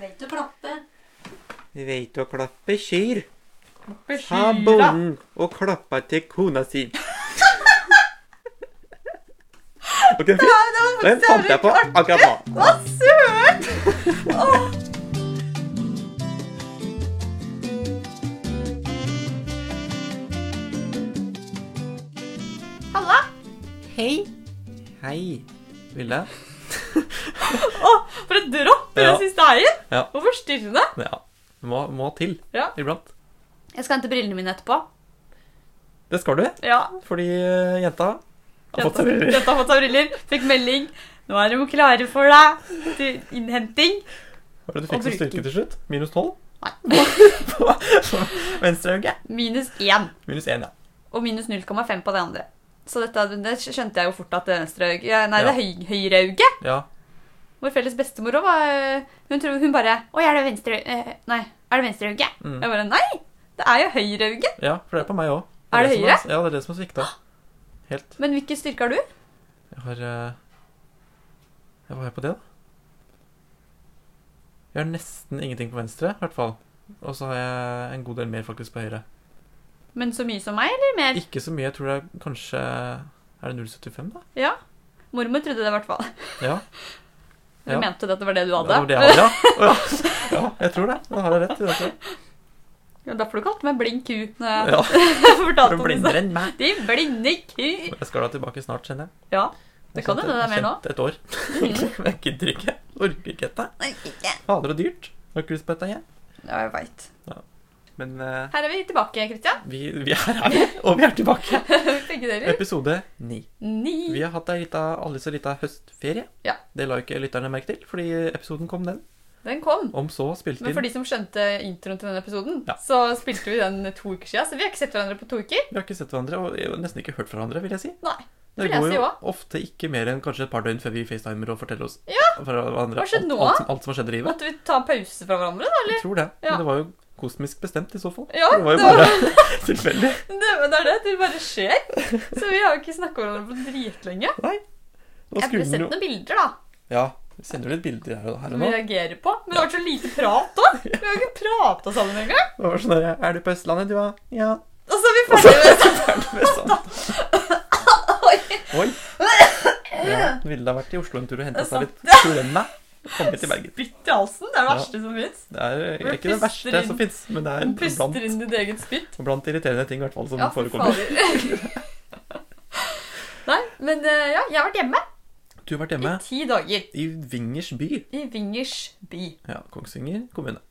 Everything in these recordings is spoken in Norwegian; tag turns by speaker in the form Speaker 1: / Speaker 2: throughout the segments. Speaker 1: veit å klappe.
Speaker 2: Vi veit å klappe kyr, sa
Speaker 3: Bekyra.
Speaker 2: bonden og klappa til kona si. Ok, fint. Den fant jeg på akkurat nå.
Speaker 1: Å, søt! Halla!
Speaker 3: Hei.
Speaker 2: Hei, Vilde.
Speaker 3: Å, for et dropp i
Speaker 2: Ja.
Speaker 3: den siste eien!
Speaker 2: Ja.
Speaker 3: Hvor forstyrrende.
Speaker 2: Ja, må, må til
Speaker 3: Ja.
Speaker 2: iblant.
Speaker 3: Jeg skal hente brillene mine etterpå.
Speaker 2: Det skal du,
Speaker 3: Ja.
Speaker 2: fordi eh, jenta har fått
Speaker 3: Jenta,
Speaker 2: seg briller.
Speaker 3: jenta har fått seg briller. Fikk melding. Nå er de klare for deg til innhenting.
Speaker 2: Hva er
Speaker 3: og
Speaker 2: det du fikk som
Speaker 3: bruker.
Speaker 2: styrke til slutt? Minus 12?
Speaker 3: Nei.
Speaker 2: På venstre øye.
Speaker 3: Minus én.
Speaker 2: Minus 1, ja.
Speaker 3: Og minus 0,5 på det andre. Så dette, det skjønte jeg jo fort at det venstre øyet ja, Nei,
Speaker 2: Ja.
Speaker 3: det høy, høyre øyet.
Speaker 2: ja.
Speaker 3: Vår felles bestemor også var øh, Hun, tror, hun bare Oi, er det venstre øyet? Nei. Er det venstre øyet?
Speaker 2: Mm.
Speaker 3: Jeg bare Nei! Det er jo høyre øyet.
Speaker 2: Ja, for det er på meg òg.
Speaker 3: Er det høyere?
Speaker 2: Ja, det er det som har svikta. Helt.
Speaker 3: Men hvilke styrker har du?
Speaker 2: Jeg har eh, ja, Hva har jeg på det, da? Jeg har nesten ingenting på venstre, i hvert fall. Og så har jeg en god del mer faktisk på høyre.
Speaker 3: Men så mye som meg, eller mer?
Speaker 2: Ikke så mye. Jeg tror det er kanskje Er det 0,75, da?
Speaker 3: Ja. Mormor trodde det i hvert fall.
Speaker 2: Ja.
Speaker 3: Hun
Speaker 2: Ja.
Speaker 3: mente at det var det du
Speaker 2: Det
Speaker 3: hadde.
Speaker 2: var det jeg hadde, ja. Å, ja. Ja, jeg tror det. Da har jeg rett. i dette.
Speaker 3: Det var derfor du kalte meg blind ku. Når jeg
Speaker 2: Ja,
Speaker 3: fortalte
Speaker 2: for
Speaker 3: om
Speaker 2: du
Speaker 3: disse.
Speaker 2: blinder enn meg.
Speaker 3: De blinde ku.
Speaker 2: Jeg skal da tilbake snart, kjenner jeg.
Speaker 3: Ja. Det kan
Speaker 2: Jeg
Speaker 3: hende det er mer nå.
Speaker 2: kjente Et år. Men Jeg gidder ikke. Orker ikke dette.
Speaker 3: Nei, ikke.
Speaker 2: Fader og dyrt. Har ikke lyst på dette, jeg.
Speaker 3: Ja, jeg vet.
Speaker 2: Men eh,
Speaker 3: Her er vi tilbake, Kristian.
Speaker 2: vi, vi her er vi, og vi er tilbake.
Speaker 3: Begge deler.
Speaker 2: Episode ni. Vi
Speaker 3: Ni.
Speaker 2: har hatt ei lita, alle så lita høstferie.
Speaker 3: Ja.
Speaker 2: Det la ikke lytterne merke til, fordi episoden kom den.
Speaker 3: Den kom.
Speaker 2: Om så spilte
Speaker 3: Men
Speaker 2: inn
Speaker 3: for de som skjønte introen til denne episoden,
Speaker 2: Ja.
Speaker 3: så spilte vi den to uker siden. Så vi har ikke sett hverandre på to uker.
Speaker 2: Vi har ikke sett hverandre, og jeg har nesten ikke hørt fra hverandre, vil jeg si.
Speaker 3: Nei.
Speaker 2: Det
Speaker 3: vil jeg
Speaker 2: går
Speaker 3: si
Speaker 2: jo
Speaker 3: også.
Speaker 2: ofte ikke mer enn kanskje et par døgn før vi facetimer og forteller oss fra hverandre
Speaker 3: Hva skjedde nå,
Speaker 2: alt, alt,
Speaker 3: da?
Speaker 2: som- alt som har skjedd i livet.
Speaker 3: Måtte vi ta en pause fra hverandre, da?
Speaker 2: Jeg tror det.
Speaker 3: Ja.
Speaker 2: Men det var jo kosmisk bestemt i så fall.
Speaker 3: Ja,
Speaker 2: det var jo
Speaker 3: det
Speaker 2: bare tilfeldig.
Speaker 3: Det, det er det. Det bare skjer. Så vi har jo ikke snakka med hverandre på dritlenge.
Speaker 2: Nei. Nå
Speaker 3: Jeg har
Speaker 2: skulle
Speaker 3: sett
Speaker 2: den jo
Speaker 3: noen bilder, da.
Speaker 2: Ja. Vi sender jo litt bilder her og, her og
Speaker 3: Som
Speaker 2: nå.
Speaker 3: vi reagerer på. Men det har vært så lite prat òg. Vi har jo ikke prata sammen engang.
Speaker 2: Det var sånn der, Er du på Østlandet, du, da? Ja.
Speaker 3: Og så er vi ferdige med
Speaker 2: Det er sant. Oi. Ja, ville da vært i Oslo en tur og henta seg litt klemme. Kommet til Bergen.
Speaker 3: Spytt i halsen. Det er det
Speaker 2: Ja.
Speaker 3: verste som fins.
Speaker 2: Det er
Speaker 3: Hvor du
Speaker 2: ikke det
Speaker 3: puster
Speaker 2: verste
Speaker 3: inn-
Speaker 2: som fins, men det er blant,
Speaker 3: Puster inn ditt eget spytt.
Speaker 2: blant irriterende ting i hvert fall som
Speaker 3: Ja, for
Speaker 2: forekommer.
Speaker 3: fader. Nei, men eh, ja, jeg har vært hjemme
Speaker 2: Du har vært
Speaker 3: i
Speaker 2: hjemme
Speaker 3: ti dager.
Speaker 2: i Vingers by.
Speaker 3: I Vingers by.
Speaker 2: Ja, Kongsvinger kommune.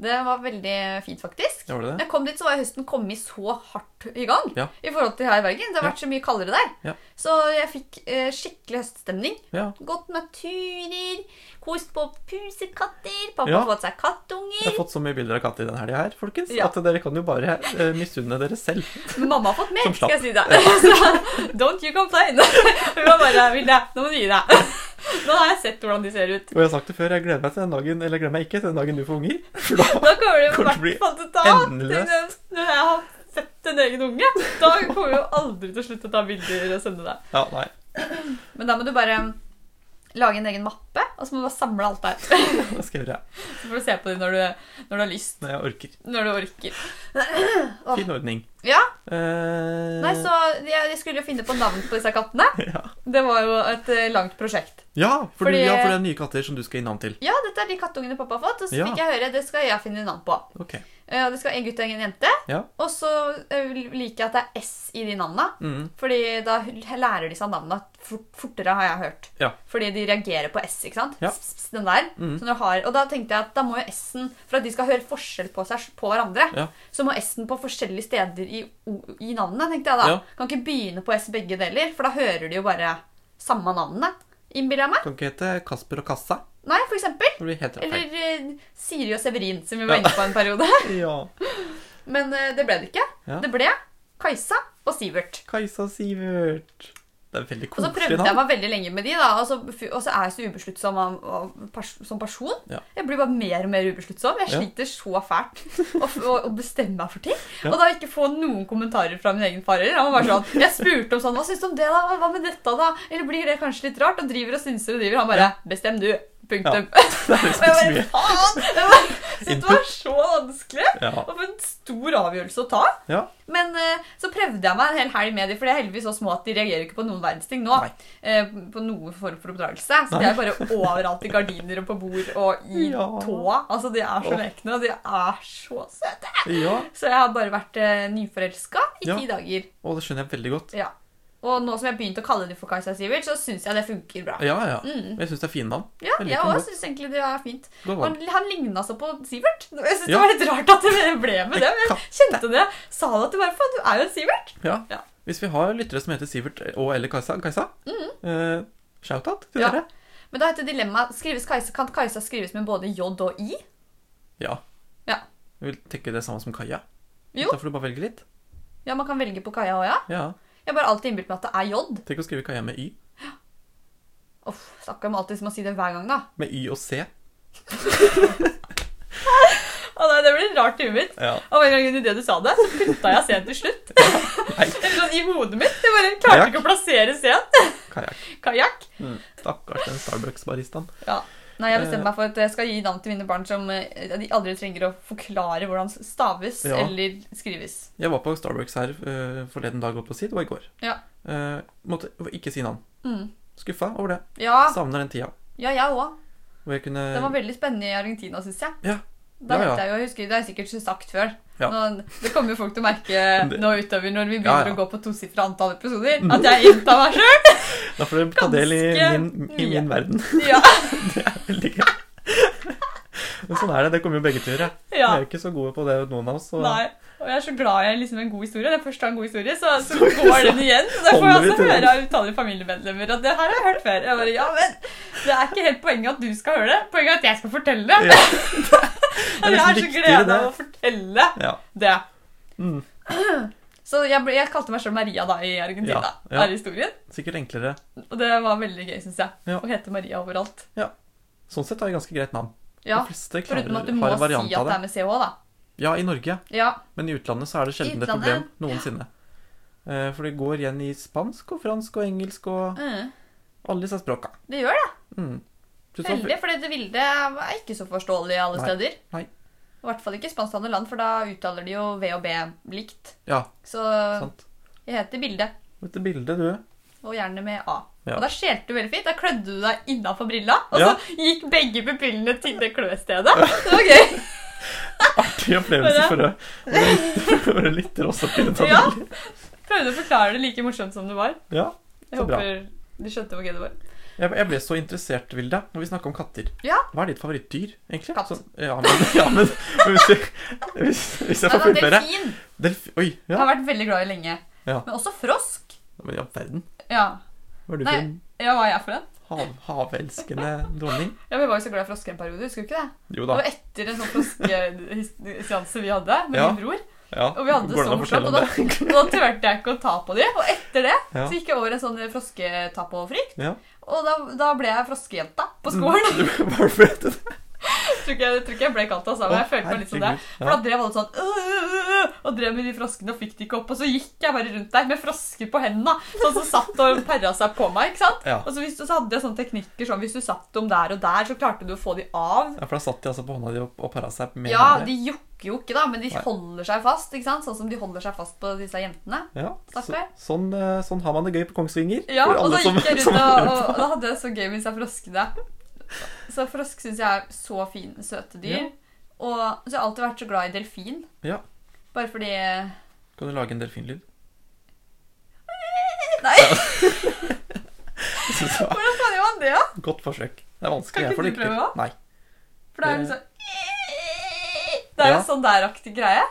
Speaker 3: Det var veldig fint, faktisk.
Speaker 2: Ja, var det
Speaker 3: Når
Speaker 2: det?
Speaker 3: jeg kom dit, så var høsten kommet så hardt i gang
Speaker 2: Ja.
Speaker 3: i forhold til her i Bergen. Det har vært så mye kaldere der.
Speaker 2: Ja.
Speaker 3: Så jeg fikk eh, skikkelig høststemning.
Speaker 2: Ja.
Speaker 3: Gått naturer, kost på pusekatter, pappa
Speaker 2: Ja.
Speaker 3: har fått seg kattunger.
Speaker 2: Jeg har fått så mye bilder av katter i denne helga her, folkens,
Speaker 3: Ja.
Speaker 2: at dere kan jo bare eh, misunne dere selv.
Speaker 3: Men mamma har fått mer,
Speaker 2: Som slapp.
Speaker 3: skal jeg si deg. Så, don't you complain. Hun var bare Vilde, nå må du gi deg. Nå har jeg sett hvordan de ser ut.
Speaker 2: Og jeg har sagt det før, jeg gleder meg til den dagen eller jeg gleder meg ikke til den dagen du får unger. For da
Speaker 3: Da kommer det jo i
Speaker 2: Kommer til å bli
Speaker 3: hvert fall til å ta av.
Speaker 2: endeløst.
Speaker 3: Tenk deg, Når jeg har født en egen unge, da kommer jeg jo aldri til å slutte å ta bilder og sende deg.
Speaker 2: Ja, nei.
Speaker 3: Men da må du bare lage en egen mappe, og så må du bare samle alt der.
Speaker 2: Det skal jeg gjøre.
Speaker 3: Så får du se på dem når du, når du har lyst.
Speaker 2: Når jeg orker.
Speaker 3: Når du orker.
Speaker 2: Fin ordning.
Speaker 3: Ja,
Speaker 2: Eh,
Speaker 3: nei, så jeg, jeg skulle jo finne på navn på disse kattene.
Speaker 2: ja.
Speaker 3: Det var jo et eh, langt prosjekt.
Speaker 2: Ja, for
Speaker 3: Fordi-
Speaker 2: du, ja, for det er nye katter som du skal gi navn til.
Speaker 3: Ja, dette er de kattungene pappa har fått, og så
Speaker 2: Ja.
Speaker 3: fikk jeg høre det skal jeg finne navn på.
Speaker 2: Ok.
Speaker 3: Eh, og Det skal være en gutt og en jente.
Speaker 2: Ja.
Speaker 3: Og så eh, liker jeg at det er S i de navnene.
Speaker 2: Mm.
Speaker 3: Fordi da lærer de seg navnene fort, fortere, har jeg hørt.
Speaker 2: Ja.
Speaker 3: Fordi de reagerer på S, ikke sant?
Speaker 2: Ja.
Speaker 3: S, s, den der.
Speaker 2: Mm.
Speaker 3: Så når du har, og da tenkte jeg at da må jo S-en For at de skal høre forskjell på seg på hverandre,
Speaker 2: Ja.
Speaker 3: så må S-en på forskjellige steder i, o- i navnene, tenkte jeg da.
Speaker 2: Ja.
Speaker 3: Kan ikke begynne på S begge deler, for da hører de jo bare samme navnene, innbiller jeg meg.
Speaker 2: Kan ikke hete Kasper og Kassa.
Speaker 3: Nei, for eksempel.
Speaker 2: Det blir helt feil.
Speaker 3: Eller eh, Siri og Severin, som vi
Speaker 2: Ja.
Speaker 3: var inne på en periode.
Speaker 2: Ja.
Speaker 3: Men eh, det ble det ikke.
Speaker 2: Ja.
Speaker 3: Det ble Kajsa og Sivert.
Speaker 2: Kajsa Sivert. Det er veldig
Speaker 3: Og så
Speaker 2: koselig
Speaker 3: prøvde jeg
Speaker 2: navn.
Speaker 3: meg veldig lenge med de, da, og så, og så er jeg så ubesluttsom av- av pers som person.
Speaker 2: Ja.
Speaker 3: Jeg blir bare mer og mer ubesluttsom. Jeg
Speaker 2: Ja.
Speaker 3: sliter så fælt å, f- å, å bestemme meg for ting.
Speaker 2: Ja.
Speaker 3: Og da ikke få noen kommentarer fra min egen far. eller? Han var bare sånn, Jeg spurte om sånn Hva syns du om det, da? Hva med dette, da? Eller blir det kanskje litt rart? Og driver og synser og driver. Han bare Bestem du. Punktum.
Speaker 2: Det er
Speaker 3: Og
Speaker 2: liksom
Speaker 3: jeg
Speaker 2: ikke så
Speaker 3: bare
Speaker 2: mye.
Speaker 3: faen! Jeg bare, Synes det var så vanskelig.
Speaker 2: Ja.
Speaker 3: Og for en stor avgjørelse å ta.
Speaker 2: Ja.
Speaker 3: Men eh, så prøvde jeg meg en hel helg med de, for de er heldigvis så små at de reagerer ikke på noen verdens ting nå.
Speaker 2: Nei.
Speaker 3: Eh, på noen form for oppdragelse. Så de er bare overalt i gardiner og på bord og i
Speaker 2: Ja.
Speaker 3: tåa. Altså, de er så
Speaker 2: Åh.
Speaker 3: lekne, og de er så søte.
Speaker 2: ja.
Speaker 3: Så jeg har bare vært eh, nyforelska i
Speaker 2: Ja.
Speaker 3: ti dager.
Speaker 2: Og det skjønner jeg veldig godt.
Speaker 3: Ja. Og nå som jeg har begynt å kalle dem for Kajsa Sivert, så syns jeg det funker bra.
Speaker 2: Ja, ja.
Speaker 3: Mm.
Speaker 2: Jeg syns det er fine navn.
Speaker 3: Ja,
Speaker 2: Jeg liker
Speaker 3: jeg
Speaker 2: den
Speaker 3: òg
Speaker 2: godt.
Speaker 3: syns egentlig det er fint.
Speaker 2: Godt
Speaker 3: Og Han,
Speaker 2: valg.
Speaker 3: han ligna så på Sivert. Jeg synes
Speaker 2: Ja.
Speaker 3: Det var litt rart at det ble med det, men jeg kjente det. Sa det til meg, for du er jo en Sivert. Ja.
Speaker 2: Ja. Hvis vi har lyttere som heter Sivert og eller Kajsa, Kajsa eh, shout-out
Speaker 3: Mm.
Speaker 2: til
Speaker 3: Ja.
Speaker 2: dere.
Speaker 3: Men da heter dilemmaet skrives Kajsa, Kan Kajsa skrives med både J og I?
Speaker 2: Ja.
Speaker 3: Ja.
Speaker 2: Jeg vil tenke det samme som Kaja.
Speaker 3: Jo.
Speaker 2: Da får du bare velge litt.
Speaker 3: Ja, man kan velge på Kaja òg, ja.
Speaker 2: Ja.
Speaker 3: Jeg har bare alltid innbilt meg at det er J.
Speaker 2: Tenk å skrive Kaja med Y.
Speaker 3: Uff, Snakker om alltid som å si det hver gang, da.
Speaker 2: Med Y og C.
Speaker 3: Å nei, Det blir rart i huet mitt.
Speaker 2: Ja.
Speaker 3: Og hver gang det du sa det, så putta jeg C-en til slutt.
Speaker 2: Nei,
Speaker 3: Eller sånn i hodet mitt. Jeg bare klarte ikke å plassere C-en.
Speaker 2: kajakk.
Speaker 3: Kajakk.
Speaker 2: Mm. Stakkars den Starbucks-baristaen.
Speaker 3: Ja. Nei, jeg
Speaker 2: Eh.
Speaker 3: bestemmer meg for at jeg skal gi navn til mine barn som eh, de aldri trenger å forklare hvordan staves
Speaker 2: Ja.
Speaker 3: eller skrives.
Speaker 2: Jeg var på Starbucks her eh, forleden dag, holdt på å si. Det var i går.
Speaker 3: Ja.
Speaker 2: Eh, måtte ikke si navn.
Speaker 3: Mm.
Speaker 2: Skuffa over det.
Speaker 3: Ja,
Speaker 2: Savner den tida
Speaker 3: ja, jeg òg.
Speaker 2: hvor jeg kunne
Speaker 3: Den Ah. var veldig spennende i Argentina, syns jeg.
Speaker 2: Eh. Ja.
Speaker 3: Da
Speaker 2: Ja, ja.
Speaker 3: vet jeg jo, jeg husker, Det har jeg sikkert sagt før.
Speaker 2: Ja.
Speaker 3: Nå, det kommer jo folk til å merke
Speaker 2: Det-
Speaker 3: nå utover når vi
Speaker 2: Ja,
Speaker 3: begynner
Speaker 2: ja.
Speaker 3: å
Speaker 2: Mm.
Speaker 3: gå på tosifra antall episoder, at jeg inntar meg sjøl.
Speaker 2: Da får dere ta del i
Speaker 3: ganske
Speaker 2: min, i
Speaker 3: mye.
Speaker 2: min verden.
Speaker 3: Ja,
Speaker 2: Veldig gøy. Men sånn er det. Det kommer jo begge til å gjøre. Vi
Speaker 3: ja.
Speaker 2: er jo ikke så gode på det, noen av oss. Så
Speaker 3: Nei. Og jeg er så glad jeg er liksom en god historie. Det er først en god historie, så, så går den igjen. Så jeg får
Speaker 2: holder
Speaker 3: jeg
Speaker 2: vi
Speaker 3: også
Speaker 2: til den.
Speaker 3: høre av utallige familiemedlemmer at det her har jeg hørt før. Jeg bare, ja, men Det er ikke helt poenget at du skal høre det. Poenget er at jeg skal fortelle det.
Speaker 2: Ja.
Speaker 3: Og jeg
Speaker 2: liksom
Speaker 3: har så
Speaker 2: viktigere
Speaker 3: glede
Speaker 2: det.
Speaker 3: av å fortelle
Speaker 2: Ja.
Speaker 3: det.
Speaker 2: Mm.
Speaker 3: Så jeg, ble, jeg kalte meg selv Maria da i Argentina.
Speaker 2: Ja, ja.
Speaker 3: Er historien.
Speaker 2: Sikkert enklere.
Speaker 3: Og det var veldig gøy, syns jeg.
Speaker 2: Ja.
Speaker 3: Å hete Maria overalt.
Speaker 2: Sånn sett har jeg ganske greit navn.
Speaker 3: Ja,
Speaker 2: De fleste klarer,
Speaker 3: Foruten at du må
Speaker 2: har en
Speaker 3: si
Speaker 2: variant
Speaker 3: at
Speaker 2: av
Speaker 3: det
Speaker 2: det.
Speaker 3: er med CH, da.
Speaker 2: Ja, i Norge.
Speaker 3: Ja,
Speaker 2: Men i utlandet så er det sjelden et problem
Speaker 3: utlandet?
Speaker 2: noensinne. Eh, For det går igjen i spansk og fransk og engelsk og
Speaker 3: mm.
Speaker 2: alle disse språka.
Speaker 3: det gjør det.
Speaker 2: Mm. Du sa-
Speaker 3: Veldig, for det vilde er ikke så forståelig alle
Speaker 2: Nei.
Speaker 3: steder.
Speaker 2: Nei.
Speaker 3: I hvert fall ikke i spansktalende land, for da uttaler de jo V og B likt.
Speaker 2: Ja,
Speaker 3: Så
Speaker 2: sant.
Speaker 3: jeg heter Bilde,
Speaker 2: Dette bildet, du.
Speaker 3: og gjerne med A.
Speaker 2: Ja.
Speaker 3: Og da skjelte du veldig fint. Da klødde du deg innafor brilla, og
Speaker 2: Ja.
Speaker 3: så gikk begge pupillene til det kløstedet. Det var gøy.
Speaker 2: Artig opplevelse
Speaker 3: Ja.
Speaker 2: for å- for våre lyttere også å kunne ta
Speaker 3: Ja.
Speaker 2: del i.
Speaker 3: Prøvde å forklare det like morsomt som det var.
Speaker 2: Ja.
Speaker 3: Jeg
Speaker 2: Så bra.
Speaker 3: håper de skjønte hvor gøy det var.
Speaker 2: Jeg jeg ble så interessert, Vilde, når vi snakka om katter.
Speaker 3: Ja.
Speaker 2: Hva er ditt favorittdyr, egentlig?
Speaker 3: Katt.
Speaker 2: Sånn- ja, men, ja, men men hvis, jeg, hvis, hvis jeg får
Speaker 3: Nei, da,
Speaker 2: fullføre
Speaker 3: delfin
Speaker 2: Delf- Oi.
Speaker 3: har
Speaker 2: Ja.
Speaker 3: jeg vært veldig glad i lenge.
Speaker 2: Ja.
Speaker 3: Men også frosk.
Speaker 2: Men i all verden.
Speaker 3: Ja.
Speaker 2: Var du
Speaker 3: Nei.
Speaker 2: for en
Speaker 3: ja, hva er jeg for en?
Speaker 2: hav, havelskende dronning?
Speaker 3: Ja, Vi var jo så glad i frosker en periode, husker du ikke det?
Speaker 2: Jo
Speaker 3: Det
Speaker 2: da.
Speaker 3: var etter en sånn froskeseanse vi hadde med
Speaker 2: Ja.
Speaker 3: min bror.
Speaker 2: Ja.
Speaker 3: Og vi hadde det
Speaker 2: Går
Speaker 3: så
Speaker 2: an å
Speaker 3: morsomt,
Speaker 2: fortelle
Speaker 3: og
Speaker 2: om
Speaker 3: da,
Speaker 2: det?
Speaker 3: og da turte jeg ikke å ta på dem. Og etter det
Speaker 2: Ja.
Speaker 3: så gikk jeg over en sånn frosketapofri.
Speaker 2: Ja. Mm.
Speaker 3: Og da, da ble jeg froskejenta på skolen.
Speaker 2: Du var det fordi at-
Speaker 3: Jeg tror ikke jeg, tror ikke jeg ble kalt det, altså, men jeg følte meg litt som det.
Speaker 2: Herregud.
Speaker 3: For da drev alle sånn «Øh, øh, øh», Og drev med de froskene og fikk de ikke opp. Og så gikk jeg bare rundt der med frosker på hendene. Sånn som satt og perra seg på meg. ikke sant?
Speaker 2: Ja.
Speaker 3: Og så, hvis du, så hadde jeg sånne teknikker sånn hvis du satt dem der og der, så klarte du å få de av.
Speaker 2: Ja, for da satt de altså på hånda di og, og para seg med
Speaker 3: Ja,
Speaker 2: henne.
Speaker 3: de jokker jo ikke, da, men de
Speaker 2: Nei.
Speaker 3: holder seg fast. ikke sant? Sånn som de holder seg fast på disse jentene.
Speaker 2: Ja, så,
Speaker 3: Stakkar.
Speaker 2: sånn, eh, sånn har man det gøy på Kongsvinger.
Speaker 3: Ja,
Speaker 2: For
Speaker 3: og
Speaker 2: alle
Speaker 3: da
Speaker 2: som-
Speaker 3: gikk jeg
Speaker 2: som
Speaker 3: rundt
Speaker 2: hører
Speaker 3: og, og,
Speaker 2: på.
Speaker 3: da hadde jeg det så gøy med disse froskene. Så frosk syns jeg er så fine, søte dyr.
Speaker 2: Ja.
Speaker 3: Og så har jeg alltid vært så glad i delfin.
Speaker 2: Ja.
Speaker 3: Bare fordi
Speaker 2: Kan du lage en delfinlyd?
Speaker 3: Nei,
Speaker 2: Jeg synes det var
Speaker 3: hvordan faen gjør man det? da?
Speaker 2: et Godt forsøk. Det er vanskelig.
Speaker 3: Kan
Speaker 2: jeg
Speaker 3: ikke
Speaker 2: får
Speaker 3: du
Speaker 2: det ikke til.
Speaker 3: prøve også?
Speaker 2: Nei.
Speaker 3: For det er jo
Speaker 2: Det-
Speaker 3: liksom Det er jo
Speaker 2: Eh. Ja.
Speaker 3: sånn der-aktig greie.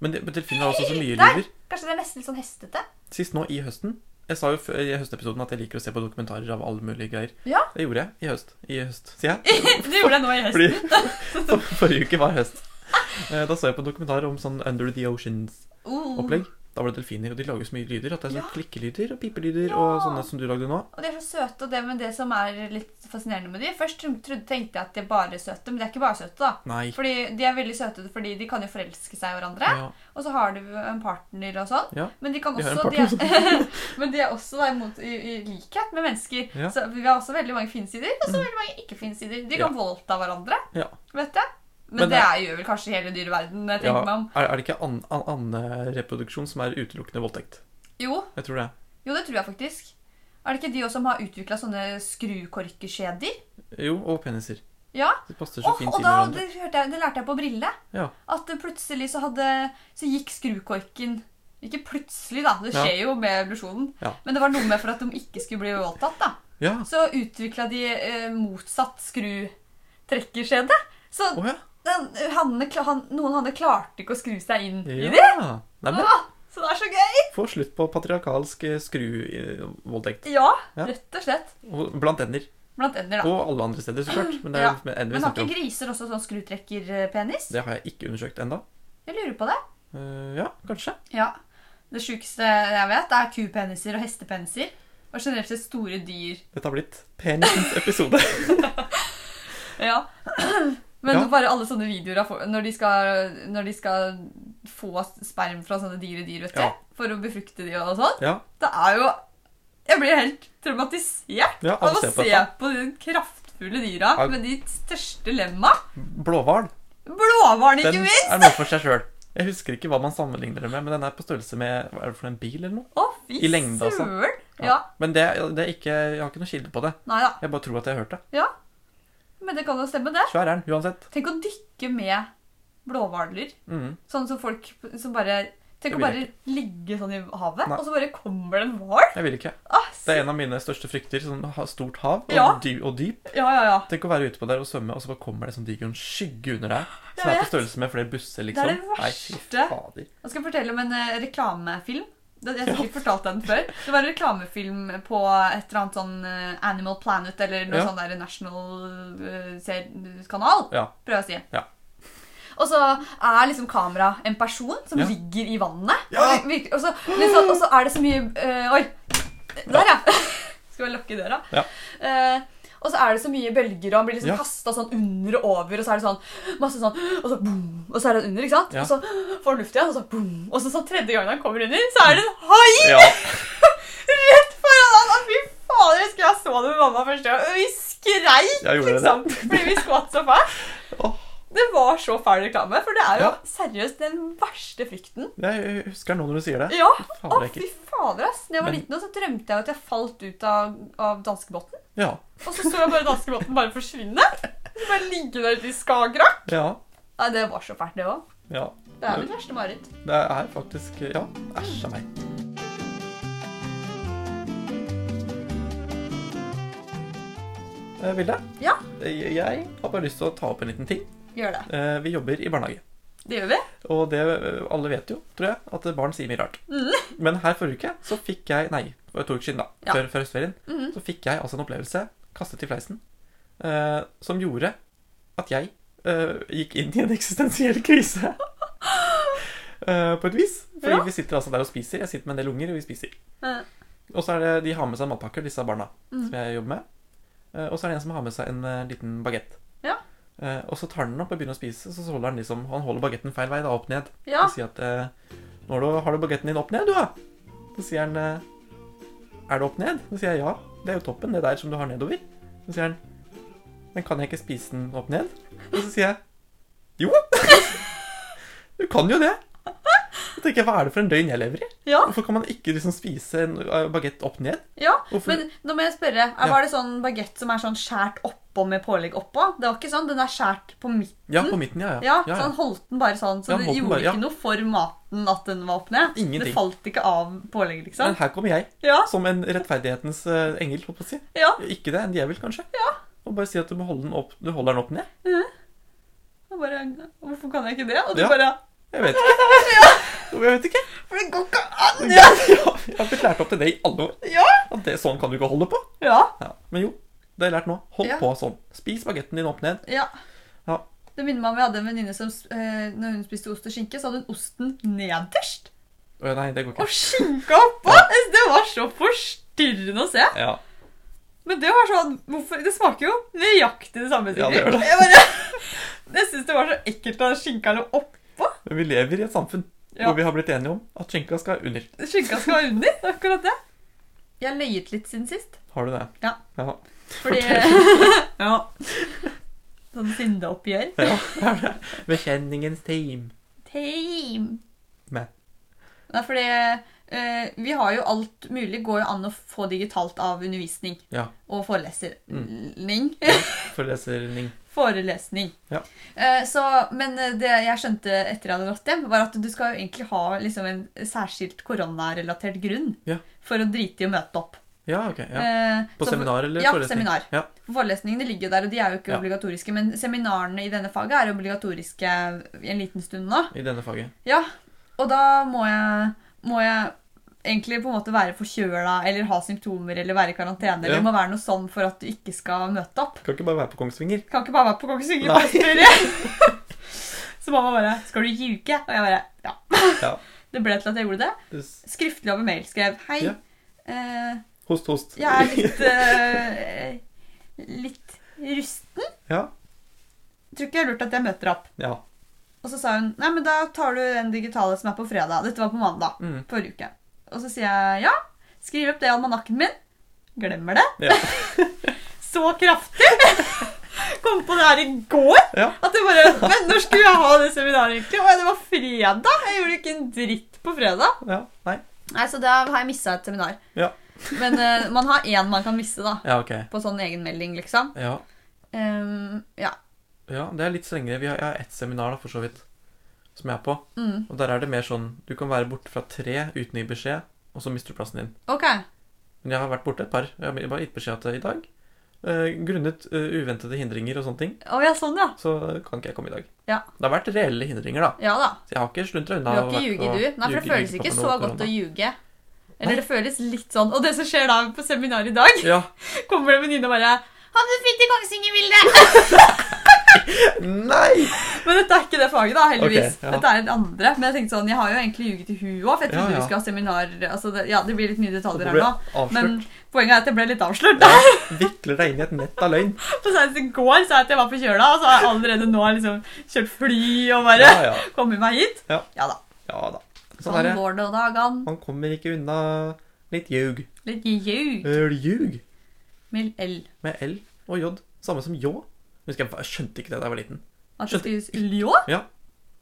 Speaker 2: Men, de- men delfiner har også så mye
Speaker 3: Der!
Speaker 2: lyder.
Speaker 3: Kanskje det er nesten litt sånn hestete?
Speaker 2: Sist nå i høsten Jeg sa jo før, i høstepisoden at jeg liker å se på dokumentarer av alle mulige greier.
Speaker 3: Ja.
Speaker 2: Det gjorde jeg i høst. I høst, sier jeg.
Speaker 3: Du gjorde det nå i høst.
Speaker 2: Fordi for,
Speaker 3: Oh.
Speaker 2: forrige uke var høst. Eh, Da så jeg på en dokumentar om sånn Under the Oceans-opplegg. Da var det delfiner, og de lager så mye lyder. At det er sånn
Speaker 3: Ja.
Speaker 2: klikkelyder og pipelyder
Speaker 3: Ja.
Speaker 2: og sånne som du lagde nå.
Speaker 3: Og de er så søte, og det, men det som er litt fascinerende med de Først trodde, tenkte jeg at de er bare søte, men de er ikke bare søte, da.
Speaker 2: Nei.
Speaker 3: Fordi De er veldig søte fordi de kan jo forelske seg i hverandre,
Speaker 2: Ja.
Speaker 3: og så har du en partner og sånn.
Speaker 2: Ja.
Speaker 3: Men de kan
Speaker 2: De har en
Speaker 3: også de er, Men de er også da, imot, i, i likhet med mennesker.
Speaker 2: Ja. Mm.
Speaker 3: Så vi har også veldig mange fine sider, og så veldig mange ikke fine sider. De kan voldta hverandre,
Speaker 2: Ja.
Speaker 3: vet jeg. Men,
Speaker 2: Men
Speaker 3: det,
Speaker 2: det-
Speaker 3: er, gjør vel kanskje hele dyreverdenen, jeg
Speaker 2: ja.
Speaker 3: tenker meg om.
Speaker 2: Er, er det ikke an- an- andereproduksjon som er utelukkende voldtekt?
Speaker 3: Jo,
Speaker 2: Jeg tror det.
Speaker 3: jo, det tror jeg faktisk. Er det ikke de også som har utvikla sånne skrukorkeskjeder?
Speaker 2: Jo, og peniser.
Speaker 3: Ja.
Speaker 2: De passer så
Speaker 3: Åh,
Speaker 2: fint
Speaker 3: og
Speaker 2: inn i
Speaker 3: da,
Speaker 2: hverandre.
Speaker 3: det, hørte jeg, det lærte jeg på Brille.
Speaker 2: Ja.
Speaker 3: At det plutselig så, hadde, så gikk skrukorken Ikke plutselig, da. Det
Speaker 2: Ja.
Speaker 3: skjer jo med evolusjonen.
Speaker 2: Ja.
Speaker 3: Men det var noe med for at de ikke skulle bli voldtatt. da.
Speaker 2: Ja.
Speaker 3: Så utvikla de eh, motsatt skrutrekkerskjede. Så
Speaker 2: Å ja.
Speaker 3: den, hannene kla- han, noen hanner klarte ikke å skru seg inn i det.
Speaker 2: ja. Nei, men
Speaker 3: Åh, så det er så gøy!
Speaker 2: få slutt på patriarkalsk eh, skruvoldtekt.
Speaker 3: Ja,
Speaker 2: Ja.
Speaker 3: rett og slett.
Speaker 2: Og Blant ender.
Speaker 3: Blant ender, da.
Speaker 2: Og alle andre steder, så klart. Men det er
Speaker 3: Ja.
Speaker 2: med ender vi
Speaker 3: Men har
Speaker 2: snakker om.
Speaker 3: ikke griser også sånn skrutrekkerpenis?
Speaker 2: Det har jeg ikke undersøkt ennå.
Speaker 3: Jeg lurer på det.
Speaker 2: ja, kanskje.
Speaker 3: Ja. Det sjukeste jeg vet, er kupeniser og hestepeniser. Og generelt sett store dyr.
Speaker 2: Dette har blitt penisens episode.
Speaker 3: Ja. Men
Speaker 2: Ja.
Speaker 3: bare alle sånne videoer av folk- når de, skal, når de skal få sperm fra sånne dyre dyr, vet du,
Speaker 2: Ja.
Speaker 3: for å befrukte de og sånn,
Speaker 2: ja,
Speaker 3: det er jo Jeg blir helt traumatisert
Speaker 2: ja,
Speaker 3: av
Speaker 2: alle
Speaker 3: å
Speaker 2: ser på
Speaker 3: se
Speaker 2: dette.
Speaker 3: på de kraftfulle dyra
Speaker 2: Ja.
Speaker 3: med de største lemma.
Speaker 2: Blåhval.
Speaker 3: Blåhvalen, ikke
Speaker 2: Den
Speaker 3: minst!
Speaker 2: er noe for seg sjøl. Jeg husker ikke hva man sammenligner det med, men den er på størrelse med hva er det for en bil eller noe.
Speaker 3: Å, fy
Speaker 2: I lengde, altså.
Speaker 3: søren! Ja.
Speaker 2: Men det, det er ikke, jeg har ikke noe kilde på det.
Speaker 3: Nei da.
Speaker 2: Jeg bare tror at jeg har hørt det.
Speaker 3: Ja. Men det kan jo stemme, det.
Speaker 2: Svær er den, uansett.
Speaker 3: Tenk å dykke med blåhvaler.
Speaker 2: Mm.
Speaker 3: Sånn som folk som bare Tenk å
Speaker 2: Det vil
Speaker 3: bare
Speaker 2: jeg
Speaker 3: ligge sånn i havet,
Speaker 2: Nei.
Speaker 3: og så bare kommer det en hval!
Speaker 2: Jeg vil ikke.
Speaker 3: Ah,
Speaker 2: Det
Speaker 3: så-
Speaker 2: er en av mine største frykter. Sånn ha- stort hav og,
Speaker 3: Ja.
Speaker 2: dy og dyp.
Speaker 3: Ja, ja, ja.
Speaker 2: Tenk å være ute på der og svømme, og så bare kommer det sånn diger skygge under deg.
Speaker 3: Jeg
Speaker 2: Som er
Speaker 3: vet.
Speaker 2: på størrelse med flere busser,
Speaker 3: Det er
Speaker 2: liksom.
Speaker 3: det verste.
Speaker 2: fader.
Speaker 3: Jeg skal fortelle om en eh, reklamefilm. Det- Jeg har sikkert fortalt den før. Det var en reklamefilm på et eller annet sånn eh, Animal Planet eller noe
Speaker 2: Ja.
Speaker 3: sånn der National eh, ser- kanal,
Speaker 2: Ja.
Speaker 3: prøver jeg å si.
Speaker 2: Ja.
Speaker 3: Og så er liksom kamera en person som
Speaker 2: Ja.
Speaker 3: ligger i vannet.
Speaker 2: Ja.
Speaker 3: Og, vi- og, så, liksom, og så er det så mye eh, Oi! Der, ja. Skal bare lukke døra.
Speaker 2: Ja.
Speaker 3: Eh, og så er det så mye bølger, og han blir liksom
Speaker 2: Ja.
Speaker 3: kasta sånn under og over. Og så er det sånn masse sånn Og så boom, og så er han under, ikke sant?
Speaker 2: Ja.
Speaker 3: Og så får han luft igjen, og så boom. Og så, så tredje gangen han kommer under, så er det en hai
Speaker 2: Ja.
Speaker 3: rett foran han! Og fy fader, jeg husker jeg så det med mamma første gang. og Vi skreik,
Speaker 2: Jeg gjorde det.
Speaker 3: liksom. Fordi vi skvatt så fælt.
Speaker 2: Åh.
Speaker 3: Det var så fæl reklame, for det er jo
Speaker 2: Ja.
Speaker 3: seriøst den verste frykten.
Speaker 2: Jeg husker nå når du sier det.
Speaker 3: Ja,
Speaker 2: Fader,
Speaker 3: å
Speaker 2: det er
Speaker 3: fy
Speaker 2: ekkelt.
Speaker 3: fader, ass. Da jeg var
Speaker 2: Men-
Speaker 3: liten, så drømte jeg at jeg falt ut av, av danskebåten.
Speaker 2: Ja.
Speaker 3: Og så så jeg bare danskebåten bare forsvinne. Så Bare ligge der ute i Skagerrak.
Speaker 2: Ja.
Speaker 3: Nei, det var så fælt, det òg.
Speaker 2: ja.
Speaker 3: Det er mitt verste mareritt.
Speaker 2: Det er faktisk Ja, æsj a meg. Eh, Vilde?
Speaker 3: Ja.
Speaker 2: Eh, Jeg har bare lyst til å ta opp en liten ting.
Speaker 3: Gjør det.
Speaker 2: Eh, Vi jobber i barnehage.
Speaker 3: Det gjør vi.
Speaker 2: Og det eh, alle vet jo, tror jeg, at barn sier mye rart.
Speaker 3: Mhm.
Speaker 2: Men her forrige uke så fikk jeg Nei, for to uker siden, da.
Speaker 3: Ja.
Speaker 2: Før, før høstferien.
Speaker 3: Mhm.
Speaker 2: Så fikk jeg altså en opplevelse, kastet i fleisen, eh, som gjorde at jeg eh, gikk inn i en eksistensiell krise. Eh, på et vis. Fordi
Speaker 3: Ja.
Speaker 2: vi sitter altså der og spiser. Jeg sitter med en del unger, og vi spiser.
Speaker 3: Eh,
Speaker 2: Og så er det, De har med seg matpakker, disse barna
Speaker 3: Mhm.
Speaker 2: som jeg jobber med. Eh, og så er det en som har med seg en eh, liten bagett.
Speaker 3: Ja.
Speaker 2: Eh, og så tar han den opp og begynner å spise, så så holder han liksom, han holder bagetten feil vei, da, opp ned.
Speaker 3: Ja.
Speaker 2: Og sier at eh, nå har du, har du bagetten din opp ned, du da? Så sier han eh, Er det opp ned? Så sier jeg ja. Det er jo toppen, det der som du har nedover. Så sier han Men kan jeg ikke spise den opp ned? Og så sier jeg Jo! du kan jo det. Så tenker jeg, Hva er det for en døgn jeg lever i?
Speaker 3: Ja.
Speaker 2: Hvorfor kan man ikke liksom spise en eh, bagett opp ned?
Speaker 3: ja.
Speaker 2: Hvorfor?
Speaker 3: Men nå må jeg spørre, er,
Speaker 2: Ja.
Speaker 3: var det sånn bagett som er sånn skjært oppå med pålegg oppå? Det var ikke sånn, den er skjært på midten.
Speaker 2: ja, på midten, ja.
Speaker 3: Ja,
Speaker 2: ja. ja,
Speaker 3: så han
Speaker 2: ja.
Speaker 3: holdt den bare sånn, så
Speaker 2: Ja, han
Speaker 3: det
Speaker 2: holdt den
Speaker 3: gjorde
Speaker 2: bare, ja.
Speaker 3: ikke noe for maten at den var opp ned.
Speaker 2: Ingenting.
Speaker 3: Det falt ikke av pålegget, liksom.
Speaker 2: Men her kommer jeg,
Speaker 3: Ja,
Speaker 2: som en rettferdighetens eh, engel, holdt på å si.
Speaker 3: ja.
Speaker 2: Ikke det, en djevel kanskje? Og bare si at du, må holde den opp, du holder den opp ned?
Speaker 3: Og bare, hvorfor kan jeg ikke det? Og du
Speaker 2: Ja.
Speaker 3: bare,
Speaker 2: Jeg vet ikke. Jeg vet ikke.
Speaker 3: for det går ikke an!
Speaker 2: Jeg, jeg har blitt lært opp til det i alle år.
Speaker 3: Ja.
Speaker 2: At det, sånn kan du ikke holde på.
Speaker 3: Ja,
Speaker 2: Ja. Men jo, det har jeg lært nå. Hold
Speaker 3: Ja.
Speaker 2: på sånn. Spis bagetten din opp ned.
Speaker 3: ja.
Speaker 2: Ja.
Speaker 3: Det minner meg om jeg hadde en venninne som, eh, når hun spiste ost og skinke, så hadde hun osten nederst.
Speaker 2: Å, nei, det går
Speaker 3: Og
Speaker 2: ikke.
Speaker 3: skinka oppå! Det var så forstyrrende å se.
Speaker 2: Ja.
Speaker 3: Men det var sånn hvorfor, Det smaker jo nøyaktig det samme.
Speaker 2: Ja, det gjør det.
Speaker 3: Jeg, bare, jeg syns det var så ekkelt at skinka lå oppå.
Speaker 2: Men vi lever i et samfunn
Speaker 3: Ja.
Speaker 2: hvor vi har blitt enige om at skinka skal under.
Speaker 3: Skinka skal være under. det er Akkurat det. Jeg har løyet litt siden sist.
Speaker 2: Har du det?
Speaker 3: Ja.
Speaker 2: ja.
Speaker 3: Fordi Ja. Sånn syndeoppgjør.
Speaker 2: Bekjenningens team.
Speaker 3: Team.
Speaker 2: Med.
Speaker 3: Nei, fordi eh, vi har jo alt mulig går jo an å få digitalt av undervisning
Speaker 2: Ja.
Speaker 3: og forelesning.
Speaker 2: Forelesning.
Speaker 3: Forelesning.
Speaker 2: Ja.
Speaker 3: Eh, så, men det jeg skjønte etter jeg hadde dratt hjem, var at du skal jo egentlig ha liksom, en særskilt koronarelatert grunn
Speaker 2: Ja.
Speaker 3: for å drite i å møte opp.
Speaker 2: Ja, ok. Ja.
Speaker 3: Eh,
Speaker 2: På
Speaker 3: så for-
Speaker 2: seminar eller
Speaker 3: ja,
Speaker 2: forelesning?
Speaker 3: Seminar.
Speaker 2: Ja.
Speaker 3: For Forelesningene ligger jo der, og de er jo ikke
Speaker 2: Ja.
Speaker 3: obligatoriske. Men seminarene i denne faget er obligatoriske i en liten stund nå.
Speaker 2: I denne faget.
Speaker 3: Ja, og da må jeg, må jeg egentlig på en måte være forkjøla eller ha symptomer eller være i karantene.
Speaker 2: Ja.
Speaker 3: Eller må være noe sånn for at du ikke skal møte opp.
Speaker 2: Kan ikke bare være på Kongsvinger.
Speaker 3: Kan ikke bare være på Kongsvinger
Speaker 2: Nei.
Speaker 3: på ferie. Så mamma bare 'Skal du ljuge?' Og jeg bare 'Ja'.
Speaker 2: Ja.
Speaker 3: Det ble til at jeg gjorde det.
Speaker 2: Du s-
Speaker 3: Skriftlig over mail skrev 'Hei,
Speaker 2: Ja.
Speaker 3: eh,
Speaker 2: Host, host.
Speaker 3: jeg er litt eh, litt rusten.
Speaker 2: Ja.
Speaker 3: Tror ikke det er lurt at jeg møter opp.'
Speaker 2: Ja.
Speaker 3: Og så sa hun 'Nei, men da tar du den digitale som er på fredag'. Dette var på mandag
Speaker 2: Mm.
Speaker 3: forrige uke. Og så sier jeg ja, skriv opp det i almanakken min. Glemmer det.
Speaker 2: Ja.
Speaker 3: Så kraftig! Kom på det her i går.
Speaker 2: Ja.
Speaker 3: At jeg bare Men når skulle jeg ha det seminaret, egentlig? Og det var fredag! Jeg gjorde ikke en dritt på fredag.
Speaker 2: ja. Nei.
Speaker 3: Nei, Så da har jeg missa et seminar.
Speaker 2: Ja.
Speaker 3: Men eh, man har én man kan miste, da.
Speaker 2: Ja, ok.
Speaker 3: På sånn egenmelding, liksom.
Speaker 2: Ja.
Speaker 3: Ehm, ja.
Speaker 2: ja, det er litt strengere. Vi har, jeg har ett seminar, da, for så vidt, som jeg er på.
Speaker 3: Mm.
Speaker 2: Og der er det mer sånn Du kan være borte fra tre uten å gi beskjed, og så mister du plassen din.
Speaker 3: Ok.
Speaker 2: Men jeg har vært borte et par. Jeg har bare gitt beskjed at i dag eh, Grunnet eh, uventede hindringer og sånne ting,
Speaker 3: Å ja, sånn, ja.
Speaker 2: så kan ikke jeg komme i dag.
Speaker 3: Ja.
Speaker 2: Det har vært reelle hindringer, da.
Speaker 3: Ja da.
Speaker 2: Så jeg har ikke sluntra
Speaker 3: Du
Speaker 2: unna.
Speaker 3: har ikke ljuget, du? Nei, for det føles ikke så godt å ljuge.
Speaker 2: Nei.
Speaker 3: Eller det føles litt sånn. Og det som skjer da på seminaret i dag,
Speaker 2: Ja.
Speaker 3: kommer det en venninne og bare 'Han du fint i Kongsvinger-bildet!'
Speaker 2: Nei!
Speaker 3: Men dette er ikke det faget, da, heldigvis.
Speaker 2: Ok, ja.
Speaker 3: Dette er det andre. Men jeg tenkte sånn, jeg har jo egentlig ljuget i huet òg, for jeg trodde
Speaker 2: Ja, ja.
Speaker 3: vi skulle ha seminar altså det, Ja, det blir litt mye
Speaker 2: Og
Speaker 3: detaljer
Speaker 2: det
Speaker 3: her
Speaker 2: ble
Speaker 3: nå, men
Speaker 2: avslørt.
Speaker 3: poenget er at jeg ble litt avslørt.
Speaker 2: Ja, vikler deg inn i et nett av løgn.
Speaker 3: Og senest i går sa jeg at jeg var forkjøla, og så har jeg allerede nå liksom kjørt fly og bare
Speaker 2: Ja, ja.
Speaker 3: kommet meg hit.
Speaker 2: Ja.
Speaker 3: da.
Speaker 2: Ja da. Sånn
Speaker 3: Sånn
Speaker 2: er det.
Speaker 3: går det og dagene.
Speaker 2: Man kommer ikke unna litt ljug.
Speaker 3: Litt ljug
Speaker 2: Eh, Ljug
Speaker 3: med L.
Speaker 2: med L og J. Samme som ljå. Husker jeg, jeg skjønte ikke det da jeg var liten.
Speaker 3: At det skrives ljå?
Speaker 2: Ja.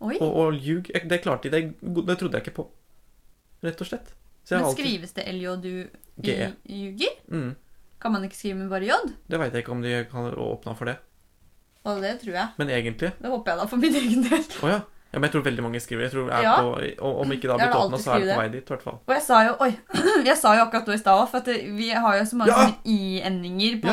Speaker 3: Oi.
Speaker 2: Og, og ljug jeg- Det klarte jeg. Det, det trodde jeg ikke på. Rett og slett. Så jeg
Speaker 3: Men
Speaker 2: har alltid
Speaker 3: skrives det LJ du
Speaker 2: G.
Speaker 3: ljuger?
Speaker 2: mm,
Speaker 3: Kan man ikke skrive med bare J?
Speaker 2: Det veit jeg ikke om de kan åpna for det.
Speaker 3: Og det tror jeg.
Speaker 2: Men egentlig Å
Speaker 3: Det håper jeg da for min egen del.
Speaker 2: ja. ja. Men jeg tror veldig mange skriver. Jeg tror det er
Speaker 3: Ja.
Speaker 2: på, og Om ikke det har
Speaker 3: Jeg
Speaker 2: blitt
Speaker 3: har
Speaker 2: åpna,
Speaker 3: alltid
Speaker 2: så er det på vei
Speaker 3: skrevet
Speaker 2: dit. i hvert fall.
Speaker 3: Og jeg sa jo Oi! Jeg sa jo akkurat nå i stad òg, for at det- vi har jo så mange
Speaker 2: Ja!
Speaker 3: sånne i-endinger på,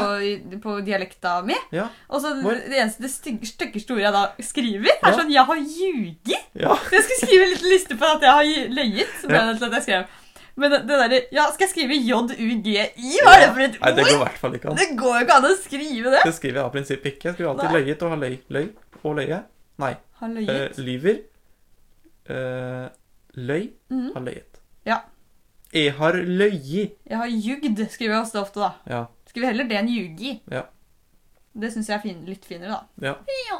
Speaker 3: på dialekta mi.
Speaker 2: Ja.
Speaker 3: Og så
Speaker 2: Hvor?
Speaker 3: det eneste det stygge- styggeste ordet jeg da skriver, er
Speaker 2: Ja.
Speaker 3: sånn Jeg har ljuget!
Speaker 2: ja.
Speaker 3: Så jeg skulle skrive en liten liste på at jeg har ju- løyet. Så ble
Speaker 2: Ja.
Speaker 3: det til at jeg skrev. Men det det derre Ja, skal jeg skrive JUGI? Hva er det for et
Speaker 2: Nei, det
Speaker 3: ord?
Speaker 2: går i hvert fall ikke an.
Speaker 3: Det går jo ikke an å skrive det!
Speaker 2: Det skriver jeg av prinsipp ikke. Jeg skulle alltid
Speaker 3: Nei.
Speaker 2: løyet og ha løy. Løy og løye. Nei.
Speaker 3: Har
Speaker 2: eh,
Speaker 3: løyet.
Speaker 2: lyver. eh, løy.
Speaker 3: Mhm.
Speaker 2: Har løyet.
Speaker 3: Ja.
Speaker 2: Jeg har løyi.
Speaker 3: Jeg har jugd, skriver jeg også ofte, da.
Speaker 2: Ja.
Speaker 3: Skriver heller det enn ljugi.
Speaker 2: Ja.
Speaker 3: Det syns jeg er fin, litt finere, da.
Speaker 2: Ja.
Speaker 3: Ja.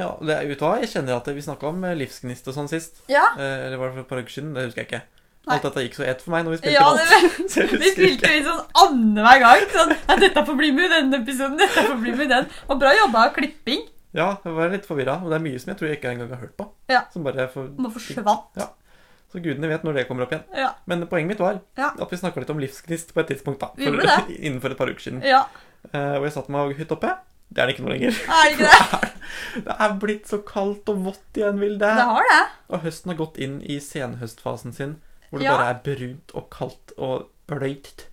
Speaker 2: ja det er, vet du hva? Jeg kjenner at vi snakka om eh, livsgnist og sånn sist.
Speaker 3: Ja,
Speaker 2: Eh, eller var det for et par uker siden? Det husker jeg ikke.
Speaker 3: Nei.
Speaker 2: Alt dette gikk så ett for meg når vi spilte
Speaker 3: ja
Speaker 2: alt.
Speaker 3: det,
Speaker 2: Så jeg
Speaker 3: vi
Speaker 2: husker
Speaker 3: spilte jo inn sånn annenhver gang. Sånn, «Nei, 'Dette får bli med i denne episoden', 'dette får bli med i den'. Og bra jobba av klipping.
Speaker 2: Ja, jeg var litt forvirra. Og det er mye som jeg tror jeg ikke engang har hørt på.
Speaker 3: Ja.
Speaker 2: Som bare for,
Speaker 3: Må forsvant.
Speaker 2: Ja. Så gudene vet når det kommer opp igjen.
Speaker 3: Ja.
Speaker 2: Men poenget mitt var
Speaker 3: Ja.
Speaker 2: at vi snakka litt om livsgnist på et tidspunkt, da.
Speaker 3: Vi gjorde
Speaker 2: innenfor et par uker siden.
Speaker 3: ja.
Speaker 2: Eh, og jeg satt meg og hytt oppe. Det er det ikke noe lenger.
Speaker 3: Er det ikke det?
Speaker 2: Det er blitt så kaldt og vått igjen, Vilde.
Speaker 3: Det har det.
Speaker 2: Og høsten har gått inn i senhøstfasen sin, hvor det
Speaker 3: Ja.
Speaker 2: bare er brunt og kaldt og bløyt.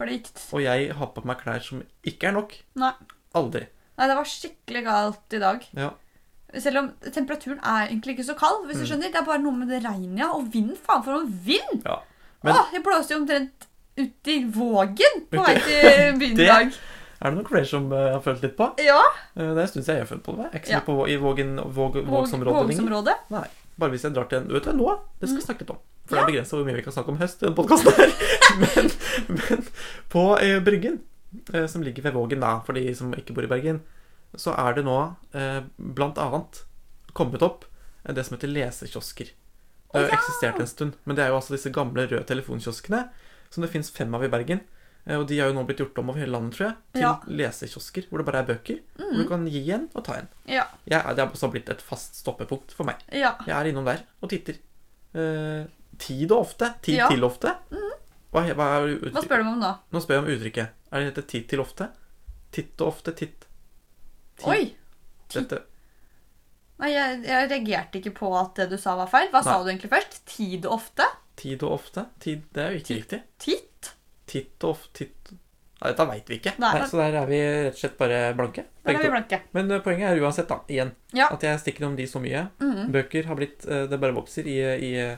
Speaker 3: Plikt.
Speaker 2: Og jeg har på meg klær som ikke er nok.
Speaker 3: Nei.
Speaker 2: Aldri.
Speaker 3: Nei, det var skikkelig galt i dag.
Speaker 2: Ja. Mm.
Speaker 3: Selv om temperaturen er egentlig ikke så kald. hvis du skjønner. Det er bare noe med det regnet ja, og vind. Faen, for noe vind!
Speaker 2: Ja. Men-
Speaker 3: Åh, jeg blåste jo omtrent ut i Vågen på vei
Speaker 2: Ut
Speaker 3: til byen
Speaker 2: Det-
Speaker 3: i dag.
Speaker 2: Er det noen flere som eh, har følt litt på?
Speaker 3: Ja,
Speaker 2: Eh, det syns jeg jeg har følt på. det. Jeg er ikke så
Speaker 3: Ja.
Speaker 2: mye på Vå- i Vågen, våg,
Speaker 3: Våg-
Speaker 2: Vågsområdet lenger.
Speaker 3: Vågsområdet.
Speaker 2: Nei. Bare hvis jeg drar til en Vet du hva, nå, det skal vi snakke litt om. For det er begrensa hvor mye vi kan snakke om i høst i denne podkasten her. Men, men på eh, Bryggen, eh, som ligger ved Vågen, da, for de som ikke bor i Bergen, så er det nå eh, blant annet kommet opp eh, det som heter lesekiosker. Det har jo eksistert en stund, men det er jo altså disse gamle røde telefonkioskene, som det fins fem av i Bergen. Eh, Og de har jo nå blitt gjort om over hele landet, tror jeg, til
Speaker 3: Ja.
Speaker 2: lesekiosker hvor det bare er bøker. Hvor du kan gi en og ta en.
Speaker 3: Ja.
Speaker 2: Jeg, er- det har også blitt et fast stoppepunkt for meg.
Speaker 3: Ja.
Speaker 2: Jeg er innom der og titter. Eh, tid og ofte. Tid
Speaker 3: Ja. Mm.
Speaker 2: til ofte. Hva, he- hva er ut-
Speaker 3: Hva spør du meg om nå?
Speaker 2: Nå spør jeg om uttrykket. Er det dette tid til ofte? Titt og ofte, titt. Tid.
Speaker 3: Oi!
Speaker 2: Dette.
Speaker 3: Nei, jeg, jeg reagerte ikke på at det du sa var feil. Hva sa
Speaker 2: Nei.
Speaker 3: du egentlig først? Tid ofte?
Speaker 2: Tid og ofte. Tid, det er jo ikke riktig.
Speaker 3: Titt?
Speaker 2: Titt og ofte, titt. Nei, dette veit vi ikke.
Speaker 3: Nei.
Speaker 2: så der er vi rett og slett bare blanke.
Speaker 3: Der
Speaker 2: begge
Speaker 3: er vi
Speaker 2: to.
Speaker 3: blanke.
Speaker 2: Men eh, poenget er uansett, da, igjen,
Speaker 3: Ja.
Speaker 2: at jeg stikker om de så mye.
Speaker 3: Mhm.
Speaker 2: Bøker har blitt eh, Det bare vokser i, i eh,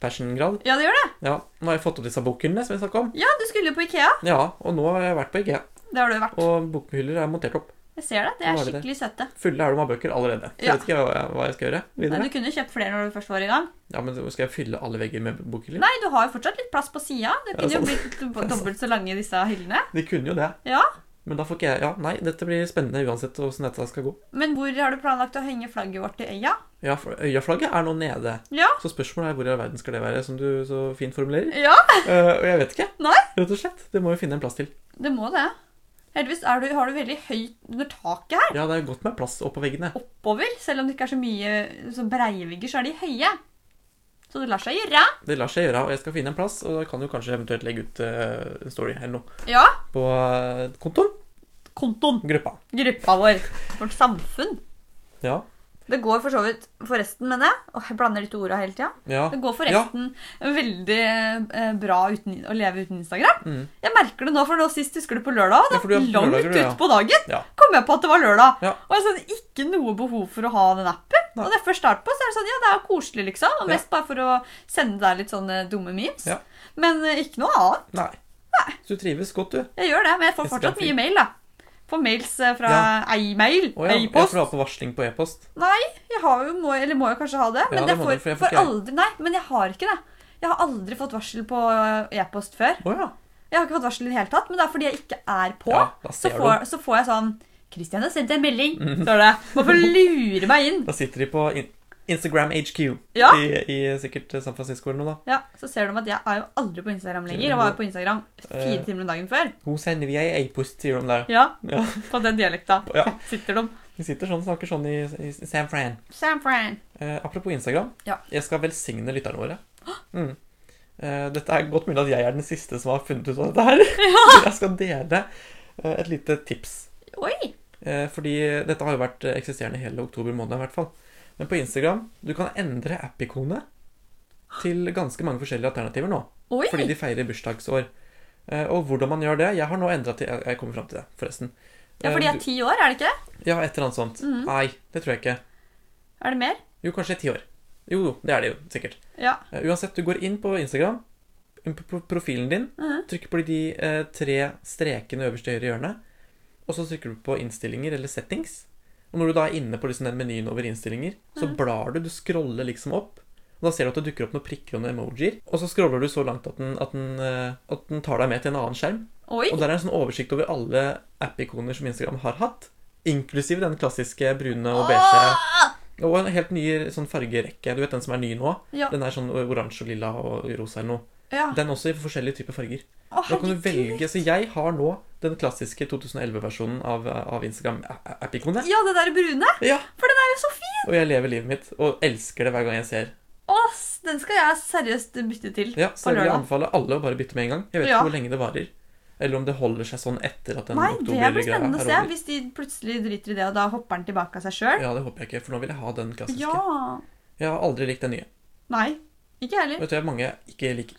Speaker 2: passiongrad.
Speaker 3: Ja, det gjør det.
Speaker 2: Ja, nå har jeg fått opp disse bokhyllene som vi snakka om.
Speaker 3: Ja, du skulle jo på Ikea.
Speaker 2: Ja, og nå har jeg vært på IKEA,
Speaker 3: Det har du jo vært.
Speaker 2: og bokhyller er montert opp.
Speaker 3: Jeg ser det. Det
Speaker 2: Nå
Speaker 3: er
Speaker 2: er det det.
Speaker 3: skikkelig søte.
Speaker 2: Fulle er de av bøker allerede. Så
Speaker 3: Ja.
Speaker 2: jeg vet ikke hva jeg, hva jeg skal gjøre
Speaker 3: Nei,
Speaker 2: videre.
Speaker 3: du kunne kjøpt flere når du først var i gang.
Speaker 2: Ja, men Skal jeg fylle alle vegger med bokhyller?
Speaker 3: Nei, du har jo fortsatt litt plass på sida. Det
Speaker 2: Ja,
Speaker 3: kunne jo
Speaker 2: sant.
Speaker 3: blitt do- dobbelt så lange disse hyllene.
Speaker 2: De kunne jo det.
Speaker 3: Ja.
Speaker 2: Men da får ikke jeg Ja, nei, dette blir spennende uansett åssen dette skal gå.
Speaker 3: Men hvor har du planlagt å henge flagget vårt til øya?
Speaker 2: Ja, for Øyaflagget er nå nede.
Speaker 3: Ja.
Speaker 2: Så spørsmålet er hvor i all verden skal det være, som du så fint formulerer.
Speaker 3: Ja,
Speaker 2: Eh, og jeg vet ikke.
Speaker 3: Nei.
Speaker 2: Rett og slett. Det må vi finne en plass til.
Speaker 3: det må det. Heldigvis er du, har du veldig høyt under taket her.
Speaker 2: Ja, det er godt med plass oppå veggene.
Speaker 3: Oppover. Selv om det ikke er så mye så breie vegger, så er de høye. Så det lar seg gjøre.
Speaker 2: Det lar seg gjøre, og jeg skal finne en plass, og da kan du kanskje eventuelt legge ut eh, en story eller noe
Speaker 3: Ja.
Speaker 2: på eh, kontoen,
Speaker 3: Kontoen.
Speaker 2: gruppa.
Speaker 3: Gruppa vår. Vårt samfunn.
Speaker 2: Ja.
Speaker 3: Det går for så vidt forresten, mener jeg. Åh, jeg blander de to orda hele tida.
Speaker 2: ja.
Speaker 3: Det går forresten veldig eh, bra uten, å leve uten Instagram.
Speaker 2: Mm.
Speaker 3: Jeg merker det nå, for nå sist husker du på lørdag.
Speaker 2: Ja,
Speaker 3: Da,
Speaker 2: for du har på
Speaker 3: langt
Speaker 2: lørdager, du, ja.
Speaker 3: ut på dagen
Speaker 2: Ja.
Speaker 3: kom jeg på at det var lørdag.
Speaker 2: Ja.
Speaker 3: Og jeg sånn, ikke noe behov for å ha den appen. Og
Speaker 2: Nei.
Speaker 3: når jeg først starter på, så er det sånn, ja, det er koselig, liksom. Og
Speaker 2: Ja.
Speaker 3: mest bare for å sende deg litt sånne dumme memes.
Speaker 2: Ja.
Speaker 3: Men eh, ikke noe annet.
Speaker 2: Nei. Så du trives godt, du.
Speaker 3: Jeg gjør det, men jeg får
Speaker 2: Instagram
Speaker 3: fortsatt
Speaker 2: fint.
Speaker 3: mye mail, da. Får mails eh, fra
Speaker 2: Ja.
Speaker 3: ei mail,
Speaker 2: Å ja,
Speaker 3: ei
Speaker 2: jeg
Speaker 3: post.
Speaker 2: får ha på varsling på e-post.
Speaker 3: Nei, jeg har jo, må, eller må jeg kanskje ha det? Men
Speaker 2: Ja, det
Speaker 3: jeg
Speaker 2: må
Speaker 3: får,
Speaker 2: du, for jeg får
Speaker 3: får
Speaker 2: ikke jeg.
Speaker 3: aldri, nei, men jeg har ikke det. Jeg har aldri fått varsel på øh, e-post før.
Speaker 2: Å ja.
Speaker 3: Jeg har ikke fått varsel i det hele tatt, men det er fordi jeg ikke er på.
Speaker 2: Ja, da
Speaker 3: så,
Speaker 2: ser du. Mhm.
Speaker 3: får, så får jeg sånn Kristian har sendt en melding, står det. Man får lure meg inn.
Speaker 2: Da sitter de på in Instagram HQ
Speaker 3: Ja.
Speaker 2: i, i sikkert eh, San Francisco eller noe, da.
Speaker 3: Ja, Så ser de at jeg er jo aldri på Instagram lenger. Og var jo på Instagram fire
Speaker 2: Eh.
Speaker 3: timer om dagen før.
Speaker 2: Hun sender vi ei e-post, sier de der.
Speaker 3: Ja,
Speaker 2: Ja.
Speaker 3: på den dialekta
Speaker 2: Ja.
Speaker 3: sitter de.
Speaker 2: De sitter sånn, snakker sånn i, i San Fran.
Speaker 3: San Fran.
Speaker 2: Eh, apropos Instagram.
Speaker 3: Ja.
Speaker 2: Jeg skal velsigne lytterne våre. Mm. Eh, dette er godt mulig at jeg er den siste som har funnet ut av dette her. Jeg skal dele eh, et lite tips.
Speaker 3: Oi!
Speaker 2: Eh, fordi dette har jo vært eh, eksisterende hele oktober måned i hvert fall. Men på Instagram du kan endre app-ikonet til ganske mange forskjellige alternativer nå.
Speaker 3: Oi!
Speaker 2: Fordi de feirer bursdagsår. Eh, og hvordan man gjør det Jeg har nå endra til Jeg jeg kommer fram til det, forresten.
Speaker 3: ja, fordi jeg
Speaker 2: Eh,
Speaker 3: er ti år, er det ikke det?
Speaker 2: du- ja, et eller annet sånt.
Speaker 3: Mhm.
Speaker 2: Nei, det tror jeg ikke.
Speaker 3: Er det mer?
Speaker 2: Jo, kanskje ti år. Jo, jo, det er det jo sikkert.
Speaker 3: Ja.
Speaker 2: Eh, Uansett, du går inn på Instagram, inn på pro- profilen din,
Speaker 3: Mhm.
Speaker 2: trykker på de eh, tre strekene øverst i høyre hjørne, og så trykker du på innstillinger eller settings. Og når du da er inne på liksom den menyen over innstillinger, så
Speaker 3: Mhm.
Speaker 2: blar du, du scroller liksom opp. Og da ser du at det dukker opp noen prikker og noen emojier, og så scroller du så langt at den, at den, eh, at den tar deg med til en annen skjerm.
Speaker 3: Oi!
Speaker 2: Og der er en sånn oversikt over alle app-ikoner som Instagram har hatt, inklusiv den klassiske brune og beige.
Speaker 3: Åh!
Speaker 2: Og en helt ny sånn fargerekke. Du vet den som er ny nå?
Speaker 3: Ja.
Speaker 2: Den er sånn oransje og lilla og rosa eller noe.
Speaker 3: ja.
Speaker 2: Den også i forskjellige typer farger.
Speaker 3: Å,
Speaker 2: Da kan du
Speaker 3: herregud.
Speaker 2: velge Så jeg har nå den klassiske 2011-versjonen av, av Instagram-app-ikonet.
Speaker 3: Ja, det der brune.
Speaker 2: Ja,
Speaker 3: For den er jo så fin!
Speaker 2: Og jeg lever livet mitt og elsker det hver gang jeg ser.
Speaker 3: Åss, den skal jeg seriøst bytte til
Speaker 2: Ja, Så
Speaker 3: på
Speaker 2: jeg vil
Speaker 3: lørdag.
Speaker 2: anbefale alle å bare bytte med en gang. Jeg vet
Speaker 3: Ja.
Speaker 2: ikke hvor lenge det varer. Eller om det holder seg sånn etter at den
Speaker 3: Nei, det blir
Speaker 2: oktobergreia
Speaker 3: spennende å se
Speaker 2: er over.
Speaker 3: hvis de plutselig driter i det, og da hopper den tilbake av seg sjøl.
Speaker 2: Ja, det håper jeg ikke, for nå vil jeg ha den klassiske.
Speaker 3: Ja.
Speaker 2: Jeg har aldri likt den nye.
Speaker 3: Nei, ikke jeg heller.
Speaker 2: Vet du, jeg har mange jeg ikke liker.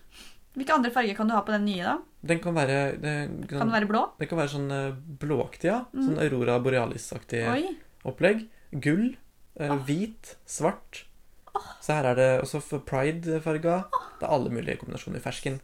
Speaker 3: Hvilke andre farger kan du ha på den nye, da?
Speaker 2: Den kan være den
Speaker 3: Kan den være blå?
Speaker 2: Det kan være sånn eh, blåaktig, ja. Sånn Aurora Borealis-aktig
Speaker 3: Oi. Ah.
Speaker 2: opplegg. Gull, eh, hvit, svart. Så her er det også for pride-farga.
Speaker 3: Ah.
Speaker 2: Det er alle mulige kombinasjoner. Fersken.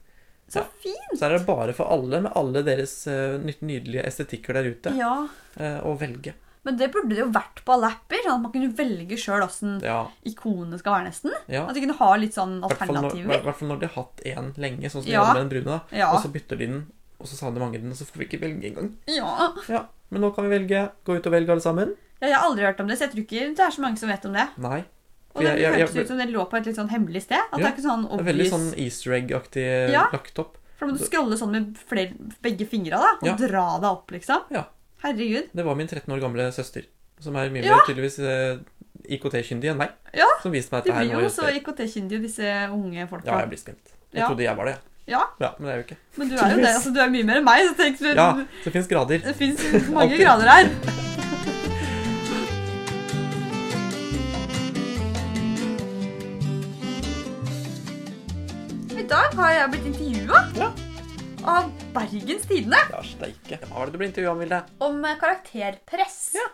Speaker 3: Så
Speaker 2: Ja.
Speaker 3: fin!
Speaker 2: Så her er det bare for alle, med alle deres eh, nyt- nydelige estetikker der ute,
Speaker 3: Ja.
Speaker 2: eh, å velge.
Speaker 3: Men det burde det jo vært på Alapper. Sånn at man kunne velge sjøl åssen
Speaker 2: Ja.
Speaker 3: ikonet skal være, nesten.
Speaker 2: ja.
Speaker 3: At de kunne ha litt sånn
Speaker 2: I hvert fall når- altså-
Speaker 3: alternativer.
Speaker 2: I hvert fall når de har hatt én lenge, sånn som de
Speaker 3: Ja.
Speaker 2: hadde med den brune. da.
Speaker 3: Ja.
Speaker 2: Og så bytter de den, og så sa de mange den, og så får vi ikke velge engang.
Speaker 3: ja.
Speaker 2: Ja, men nå kan vi velge. Gå ut og velge alle sammen.
Speaker 3: Ja, jeg har aldri hørt om det, så jeg tror ikke det er så mange som vet om det.
Speaker 2: Nei.
Speaker 3: Og
Speaker 2: Jeg-
Speaker 3: det
Speaker 2: jeg-
Speaker 3: hørtes
Speaker 2: jeg-
Speaker 3: ut som det lå på et litt sånn hemmelig sted. At det
Speaker 2: Ja,
Speaker 3: er ikke sånn
Speaker 2: Det er
Speaker 3: obvious.
Speaker 2: veldig sånn easter egg-aktig
Speaker 3: Ja.
Speaker 2: lagt opp.
Speaker 3: For da må du scrolle sånn med flere, begge fingra da, og
Speaker 2: Ja.
Speaker 3: dra deg opp, liksom.
Speaker 2: Ja.
Speaker 3: Herregud.
Speaker 2: Det var min 13 år gamle søster, som er mye
Speaker 3: Ja.
Speaker 2: mer tydeligvis eh, IKT-kyndig enn meg,
Speaker 3: Ja.
Speaker 2: som viste meg
Speaker 3: De
Speaker 2: dette her.
Speaker 3: blir
Speaker 2: nå i
Speaker 3: jo
Speaker 2: høst.
Speaker 3: så IKT-kyndige, disse unge folka.
Speaker 2: Ja, jeg blir spent. Jeg
Speaker 3: Ja.
Speaker 2: trodde jeg var det.
Speaker 3: Ja.
Speaker 2: ja, men det er jo ikke.
Speaker 3: Men du er jo det. altså Du er mye mer enn meg. så tenk,
Speaker 2: Ja, så det fins grader.
Speaker 3: Det fins mange
Speaker 2: Alltid.
Speaker 3: grader her. I dag har jeg blitt intervjua
Speaker 2: Ja.
Speaker 3: av Bergens Tidende
Speaker 2: Ja, steike. Hva var det du ble intervjua om, Vilde?
Speaker 3: om karakterpress.
Speaker 2: Ja.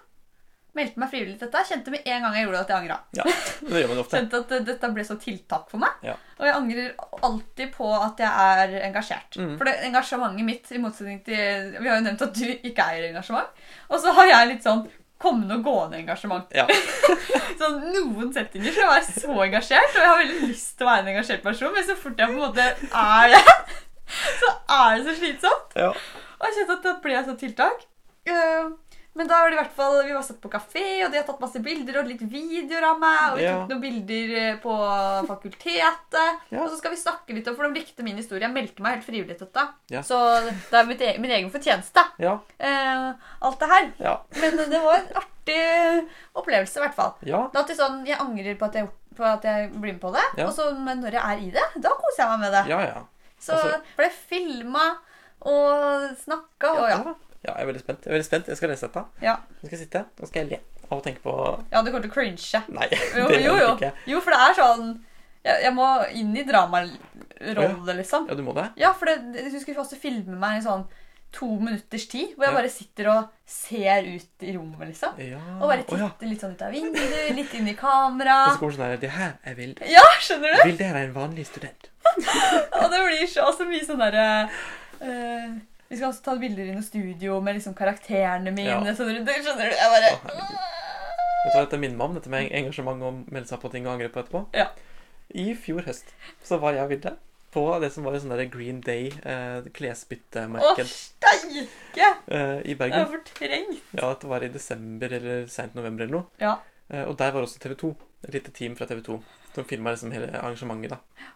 Speaker 3: Meldte meg frivillig til dette. Kjente med en gang jeg gjorde det at jeg angra.
Speaker 2: Ja, det gjør man ofte.
Speaker 3: Kjente at eh, dette ble så tiltak for meg.
Speaker 2: Ja.
Speaker 3: Og jeg angrer alltid på at jeg er engasjert.
Speaker 2: Mm.
Speaker 3: For det engasjementet mitt, i motsetning til Vi har jo nevnt at du ikke eier engasjement. Og så har jeg litt sånn kommende og gående engasjement.
Speaker 2: Ja.
Speaker 3: Så noen settinger skal jeg være så engasjert, og jeg har veldig lyst til å være en engasjert person, men så fort jeg på en måte er det, så er det så slitsomt.
Speaker 2: Ja.
Speaker 3: Og jeg kjente at da ble jeg sånn tiltak. Eh, Men da var det i hvert fall, vi var satt på kafé, og de har tatt masse bilder og litt videoer av meg. Og vi
Speaker 2: Ja.
Speaker 3: tok noen bilder eh, på fakultetet.
Speaker 2: Ja.
Speaker 3: Og så skal vi snakke litt om, for de likte min historie. Jeg meldte meg helt frivillig til dette.
Speaker 2: Ja.
Speaker 3: Så det er mitt e min egen fortjeneste,
Speaker 2: Ja.
Speaker 3: eh, alt det her.
Speaker 2: Ja.
Speaker 3: Men det var en artig opplevelse, i hvert fall.
Speaker 2: ja.
Speaker 3: Det er alltid sånn, Jeg angrer på at jeg, gjort- på at jeg blir med på det,
Speaker 2: Ja.
Speaker 3: og så, men når jeg er i det, da koser jeg meg med det.
Speaker 2: Ja, ja.
Speaker 3: Så
Speaker 2: Altså-
Speaker 3: ble filma og snakka og ja.
Speaker 2: Ja, jeg er veldig spent. Jeg er veldig spent. Jeg skal lese dette.
Speaker 3: ja.
Speaker 2: Jeg skal sitte og skal jeg le av å tenke på
Speaker 3: Ja, du kommer til å cringe.
Speaker 2: Nei, det
Speaker 3: Jo,
Speaker 2: gjør
Speaker 3: jo,
Speaker 2: jeg
Speaker 3: jo.
Speaker 2: nok ikke.
Speaker 3: jo, for det er sånn Jeg, jeg må inn i dramarolle, liksom.
Speaker 2: Ja, du må det?
Speaker 3: Ja, for det, du skulle også filme meg i sånn to minutters tid, hvor jeg
Speaker 2: Ja.
Speaker 3: bare sitter og ser ut i rommet, liksom.
Speaker 2: Ja.
Speaker 3: Og bare
Speaker 2: Å,
Speaker 3: titter
Speaker 2: ja.
Speaker 3: litt sånn ut av vinduet, litt inn i
Speaker 2: Og
Speaker 3: kamera.
Speaker 2: så kommer det sånn her Det her er Vilde.
Speaker 3: Ja, skjønner du?
Speaker 2: Vilde her er en vanlig student.
Speaker 3: Og det blir så, så mye sånn derre eh, Vi skal også ta bilder i noe studio med liksom karakterene mine.
Speaker 2: Ja.
Speaker 3: Sånn, rundt- skjønner du? Jeg bare
Speaker 2: Å, Vet du hva dette minner meg om? Dette med engasjement og melde seg på ting og angre på etterpå?
Speaker 3: Ja.
Speaker 2: I fjor høst så var jeg og Vilde på det som var en sånn der Green Day eh,
Speaker 3: Å,
Speaker 2: klesbyttemarked
Speaker 3: steike!
Speaker 2: eh, i
Speaker 3: Jeg er
Speaker 2: Bergen.
Speaker 3: fortrengt.
Speaker 2: Ja, dette var i desember eller sent november eller noe.
Speaker 3: Ja.
Speaker 2: Eh, og der var også TV 2. Et lite team fra TV 2 som filma liksom hele arrangementet, da.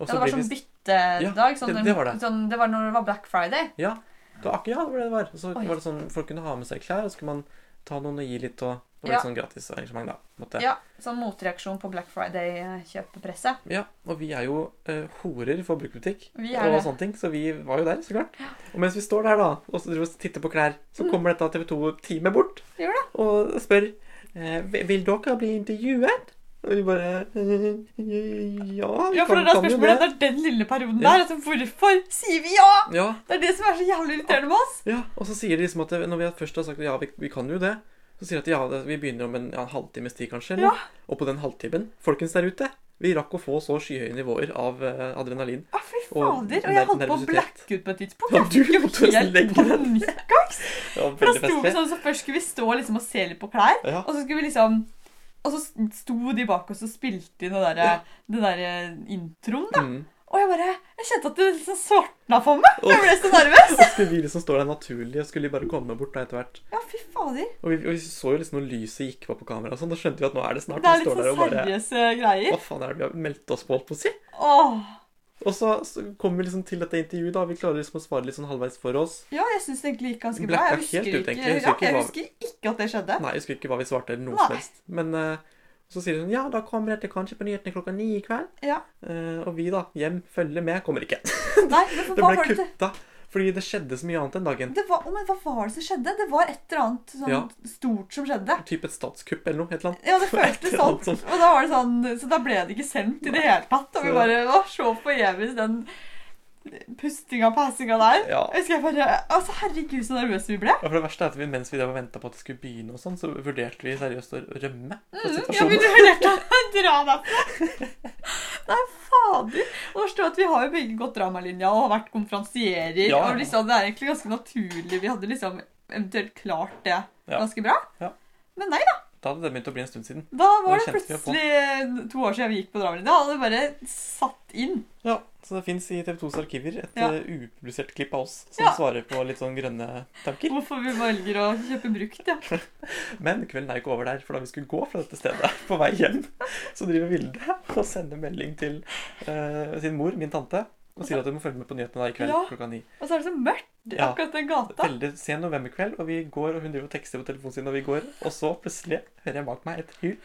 Speaker 2: Og
Speaker 3: Ja, det var
Speaker 2: blir vi-
Speaker 3: sånn byttedag. sånn,
Speaker 2: det- det var det.
Speaker 3: Sånn, det var når det var Black Friday.
Speaker 2: Ja, det var akkurat ja, det var det det var. Og så
Speaker 3: Oi.
Speaker 2: var det sånn, Folk kunne ha med seg klær, og så kunne man ta noen og gi litt. og Det var litt
Speaker 3: Ja.
Speaker 2: sånn gratis arrangement, da. på en Måte.
Speaker 3: Ja, Sånn motreaksjon på Black eh, Friday-kjøpepresset.
Speaker 2: Ja, Og vi er jo eh, horer for bruktbutikk
Speaker 3: Vi er
Speaker 2: og
Speaker 3: det.
Speaker 2: sånne ting, så vi var jo der, så klart. Og mens vi står der da, og så driver vi og titter på klær, så kommer dette TV 2-teamet bort
Speaker 3: Gjør Mm. det.
Speaker 2: og spør eh, «Vil- Vil dere bli intervjuet? Og vi bare eh, Ja, vi
Speaker 3: Ja, for det er da spørsmålet, det er den lille perioden
Speaker 2: Ja.
Speaker 3: der. Altså, hvorfor sier vi ja?
Speaker 2: Ja,
Speaker 3: Det er det som er så jævlig irriterende med oss.
Speaker 2: Ja, og så sier de liksom at det- når vi først har sagt ja, vi, vi kan jo det, så sier de at ja, det, vi begynner om en, ja, en halvtimes tid kanskje, eller?
Speaker 3: Ja.
Speaker 2: Og på den halvtimen, folkens der ute, vi rakk å få så skyhøye nivåer av eh, adrenalin.
Speaker 3: Å, fy
Speaker 2: Og
Speaker 3: fader. Og jeg holdt på å
Speaker 2: nervøsitet.
Speaker 3: blacke ut på et tidspunkt.
Speaker 2: Ja,
Speaker 3: Jeg
Speaker 2: du
Speaker 3: fikk jo
Speaker 2: måtte nesten
Speaker 3: helt
Speaker 2: legge deg.
Speaker 3: panikkangst.
Speaker 2: Det var
Speaker 3: For
Speaker 2: veldig
Speaker 3: da sto vi
Speaker 2: festlig.
Speaker 3: sånn, så Først skulle vi stå liksom og se litt på klær,
Speaker 2: Ja.
Speaker 3: og så skulle vi liksom Og så sto de bak oss og spilte inn den derre den der eh, introen, da.
Speaker 2: Mm.
Speaker 3: Og jeg bare Jeg kjente at det liksom svartna for meg. Jeg ble så nervøs.
Speaker 2: Og så skulle vi liksom stå der naturlig, og skulle bare komme bort da etter hvert.
Speaker 3: Ja, fy fader.
Speaker 2: Og vi, og vi så jo liksom når lyset gikk på på kamera og sånn, da skjønte vi at nå er det snart.
Speaker 3: Det er
Speaker 2: vi
Speaker 3: litt
Speaker 2: står der
Speaker 3: sånn
Speaker 2: og bare,
Speaker 3: seriøse greier.
Speaker 2: hva faen er det vi har meldt oss på, holdt på å si?
Speaker 3: Åh.
Speaker 2: Og så, så kommer vi liksom til dette intervjuet da, vi klarer liksom å svare litt sånn halvveis for oss.
Speaker 3: Ja, jeg syns det egentlig gikk ganske bra.
Speaker 2: Blacka
Speaker 3: Jeg husker,
Speaker 2: helt ut,
Speaker 3: ikke,
Speaker 2: egentlig. Jeg husker
Speaker 3: ja,
Speaker 2: ikke
Speaker 3: jeg
Speaker 2: hva-
Speaker 3: husker ikke at det skjedde.
Speaker 2: Nei, jeg husker ikke hva vi svarte eller noe
Speaker 3: Nei.
Speaker 2: som helst. Men eh, så sier de sånn Ja, da kommer dette kanskje på nyhetene klokka ni i kveld.
Speaker 3: Ja.
Speaker 2: Eh, og vi, da. Hjem, følger med. Kommer ikke.
Speaker 3: Nei, men
Speaker 2: Det
Speaker 3: for hva
Speaker 2: ble
Speaker 3: var det
Speaker 2: kutta fordi det skjedde så mye annet den dagen.
Speaker 3: det var, Å, men Hva var det som skjedde? Det var et eller annet sånn
Speaker 2: Ja.
Speaker 3: stort som skjedde.
Speaker 2: Typ et statskupp eller noe. Et eller annet.
Speaker 3: Ja, det
Speaker 2: Et
Speaker 3: føltes
Speaker 2: eller
Speaker 3: sånn.
Speaker 2: annet sånt.
Speaker 3: Og da var det sånn, Så da ble det ikke sendt i det hele tatt. Og vi
Speaker 2: Så-
Speaker 3: bare å, Se på Evis den pustinga og passinga der.
Speaker 2: Ja.
Speaker 3: Jeg husker jeg bare, altså Herregud, så nervøse vi ble.
Speaker 2: Ja, for det verste er at vi, mens vi drev og venta på at det skulle begynne, og sånn, så vurderte vi seriøst å rømme. fra
Speaker 3: Mm, Ja, men
Speaker 2: situasjonen.
Speaker 3: du lærte å dra derfra. Nei, fader. Og forstå at vi har jo begge gått dramalinja og vært konferansierer.
Speaker 2: Ja, ja.
Speaker 3: Og liksom, det er egentlig ganske naturlig. Vi hadde liksom eventuelt klart det
Speaker 2: Ja.
Speaker 3: ganske bra.
Speaker 2: Ja.
Speaker 3: Men nei da.
Speaker 2: Da hadde det begynt å bli en stund siden.
Speaker 3: Da var
Speaker 2: Det
Speaker 3: det
Speaker 2: kjente vi på.
Speaker 3: plutselig eh, to år siden vi gikk på Drammen. Da hadde det bare satt inn.
Speaker 2: Ja, Så det fins i TV 2s arkiver et
Speaker 3: Ja.
Speaker 2: eh, upublisert klipp av oss som
Speaker 3: Ja.
Speaker 2: svarer på litt sånn grønne tanker.
Speaker 3: Hvorfor vi velger å kjøpe brukt, ja.
Speaker 2: Men kvelden er jo ikke over der, for da vi skulle gå fra dette stedet på vei hjem, så driver Vilde og sender melding til eh, sin mor, min tante, og sier at hun må følge med på nyhetene da i kveld
Speaker 3: Ja.
Speaker 2: klokka ni.
Speaker 3: Og så er det så mørkt
Speaker 2: Ja.
Speaker 3: akkurat den gata.
Speaker 2: Veldig sen novemberkveld, og vi går, og hun driver og tekster på telefonen sin, og vi går, og så plutselig hører jeg bak meg et hyl,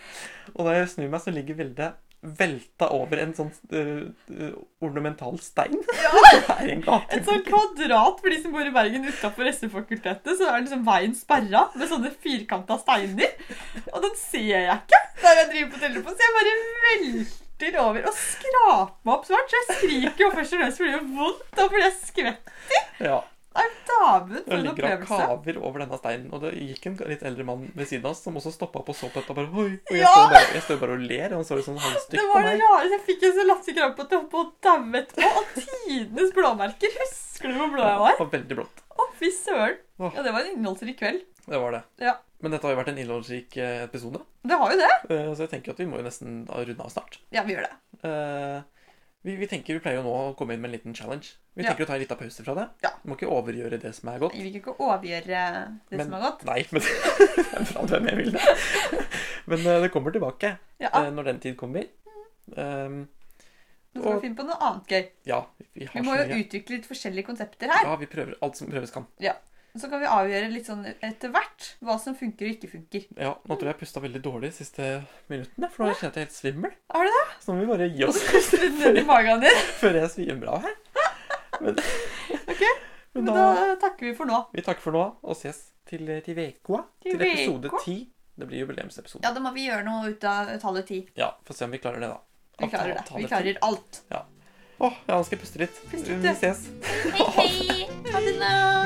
Speaker 2: og da jeg snur meg, så ligger Vilde velta over en sånn eh, eh, ornamental stein. Det er en gate.
Speaker 3: Et sånn kvadrat for de som bor i Bergen utenfor SV-fakultetet. Så er liksom veien sperra med sånne firkanta steiner. Og den ser jeg ikke der jeg driver på telefonen, så jeg bare velter over og skraper meg opp svart. Så jeg skriker jo først og fremst fordi det gjør vondt, og fordi jeg skvetter.
Speaker 2: Ja.
Speaker 3: Nei, dæven, for
Speaker 2: Og
Speaker 3: en
Speaker 2: ligger og
Speaker 3: sånn opplevelse.
Speaker 2: kaver over denne steinen. Og det gikk en litt eldre mann ved siden av oss som også stoppa opp og så på dette. Og bare, Oi, og jeg,
Speaker 3: Ja!
Speaker 2: står bare, jeg står bare og ler, og han så litt sånn
Speaker 3: Det
Speaker 2: halvstygt på
Speaker 3: var det
Speaker 2: meg.
Speaker 3: rareste. Jeg fikk en så latterkrampe at jeg holdt på å daue etterpå. Og tidenes blåmerker. Husker du hvor blå jeg
Speaker 2: Det
Speaker 3: var?
Speaker 2: var veldig blått.
Speaker 3: Å, fy søren.
Speaker 2: Åh.
Speaker 3: Ja, det var en innholdsrik kveld.
Speaker 2: Det var det.
Speaker 3: Ja.
Speaker 2: Men dette har jo vært en innholdsrik eh, episode,
Speaker 3: Det har jo det.
Speaker 2: eh, så jeg tenker at vi må jo nesten eh, runde av snart.
Speaker 3: Ja, vi gjør det.
Speaker 2: Eh, Vi, vi tenker vi pleier jo nå å komme inn med en liten challenge. Vi
Speaker 3: Ja.
Speaker 2: tenker å ta en liten pause fra det.
Speaker 3: Ja.
Speaker 2: Vi må ikke overgjøre det som er godt.
Speaker 3: Vi vil ikke overgjøre det som
Speaker 2: Men-
Speaker 3: har gått.
Speaker 2: Nei, men det er bra du er med, Vilde. Men eh, det kommer tilbake
Speaker 3: Ja,
Speaker 2: eh, når den tid kommer. Um,
Speaker 3: Nå skal
Speaker 2: og-
Speaker 3: vi finne på noe annet gøy.
Speaker 2: ja, vi har
Speaker 3: Vi må
Speaker 2: så
Speaker 3: jo
Speaker 2: mye.
Speaker 3: utvikle litt forskjellige konsepter her.
Speaker 2: Ja, vi prøver alt som prøves kan.
Speaker 3: Så kan vi avgjøre litt sånn etter hvert hva som funker og ikke funker.
Speaker 2: Ja, nå tror jeg jeg pusta veldig dårlig de siste minuttene, for nå kjente jeg at jeg er helt svimmel.
Speaker 3: Er du
Speaker 2: det? Så nå må vi bare gi
Speaker 3: Og
Speaker 2: oss
Speaker 3: så puster du litt ned i magen din.
Speaker 2: før jeg svimmer av her. Men, men
Speaker 3: Men
Speaker 2: da
Speaker 3: da takker vi for nå.
Speaker 2: Vi takker for nå, og ses til, eh, til VK.
Speaker 3: Til
Speaker 2: Til episode
Speaker 3: VK.
Speaker 2: ti. Det blir jubileumsepisode.
Speaker 3: Ja, da må vi gjøre noe ut av tallet ti.
Speaker 2: Ja, Få se om vi klarer det, da.
Speaker 3: Vi klarer det. Vi klarer alt.
Speaker 2: Åh, jeg skal puste litt.
Speaker 3: Pust litt,
Speaker 2: Vi
Speaker 3: du.
Speaker 2: ses.
Speaker 1: Hei, hei.
Speaker 3: Ha det nå.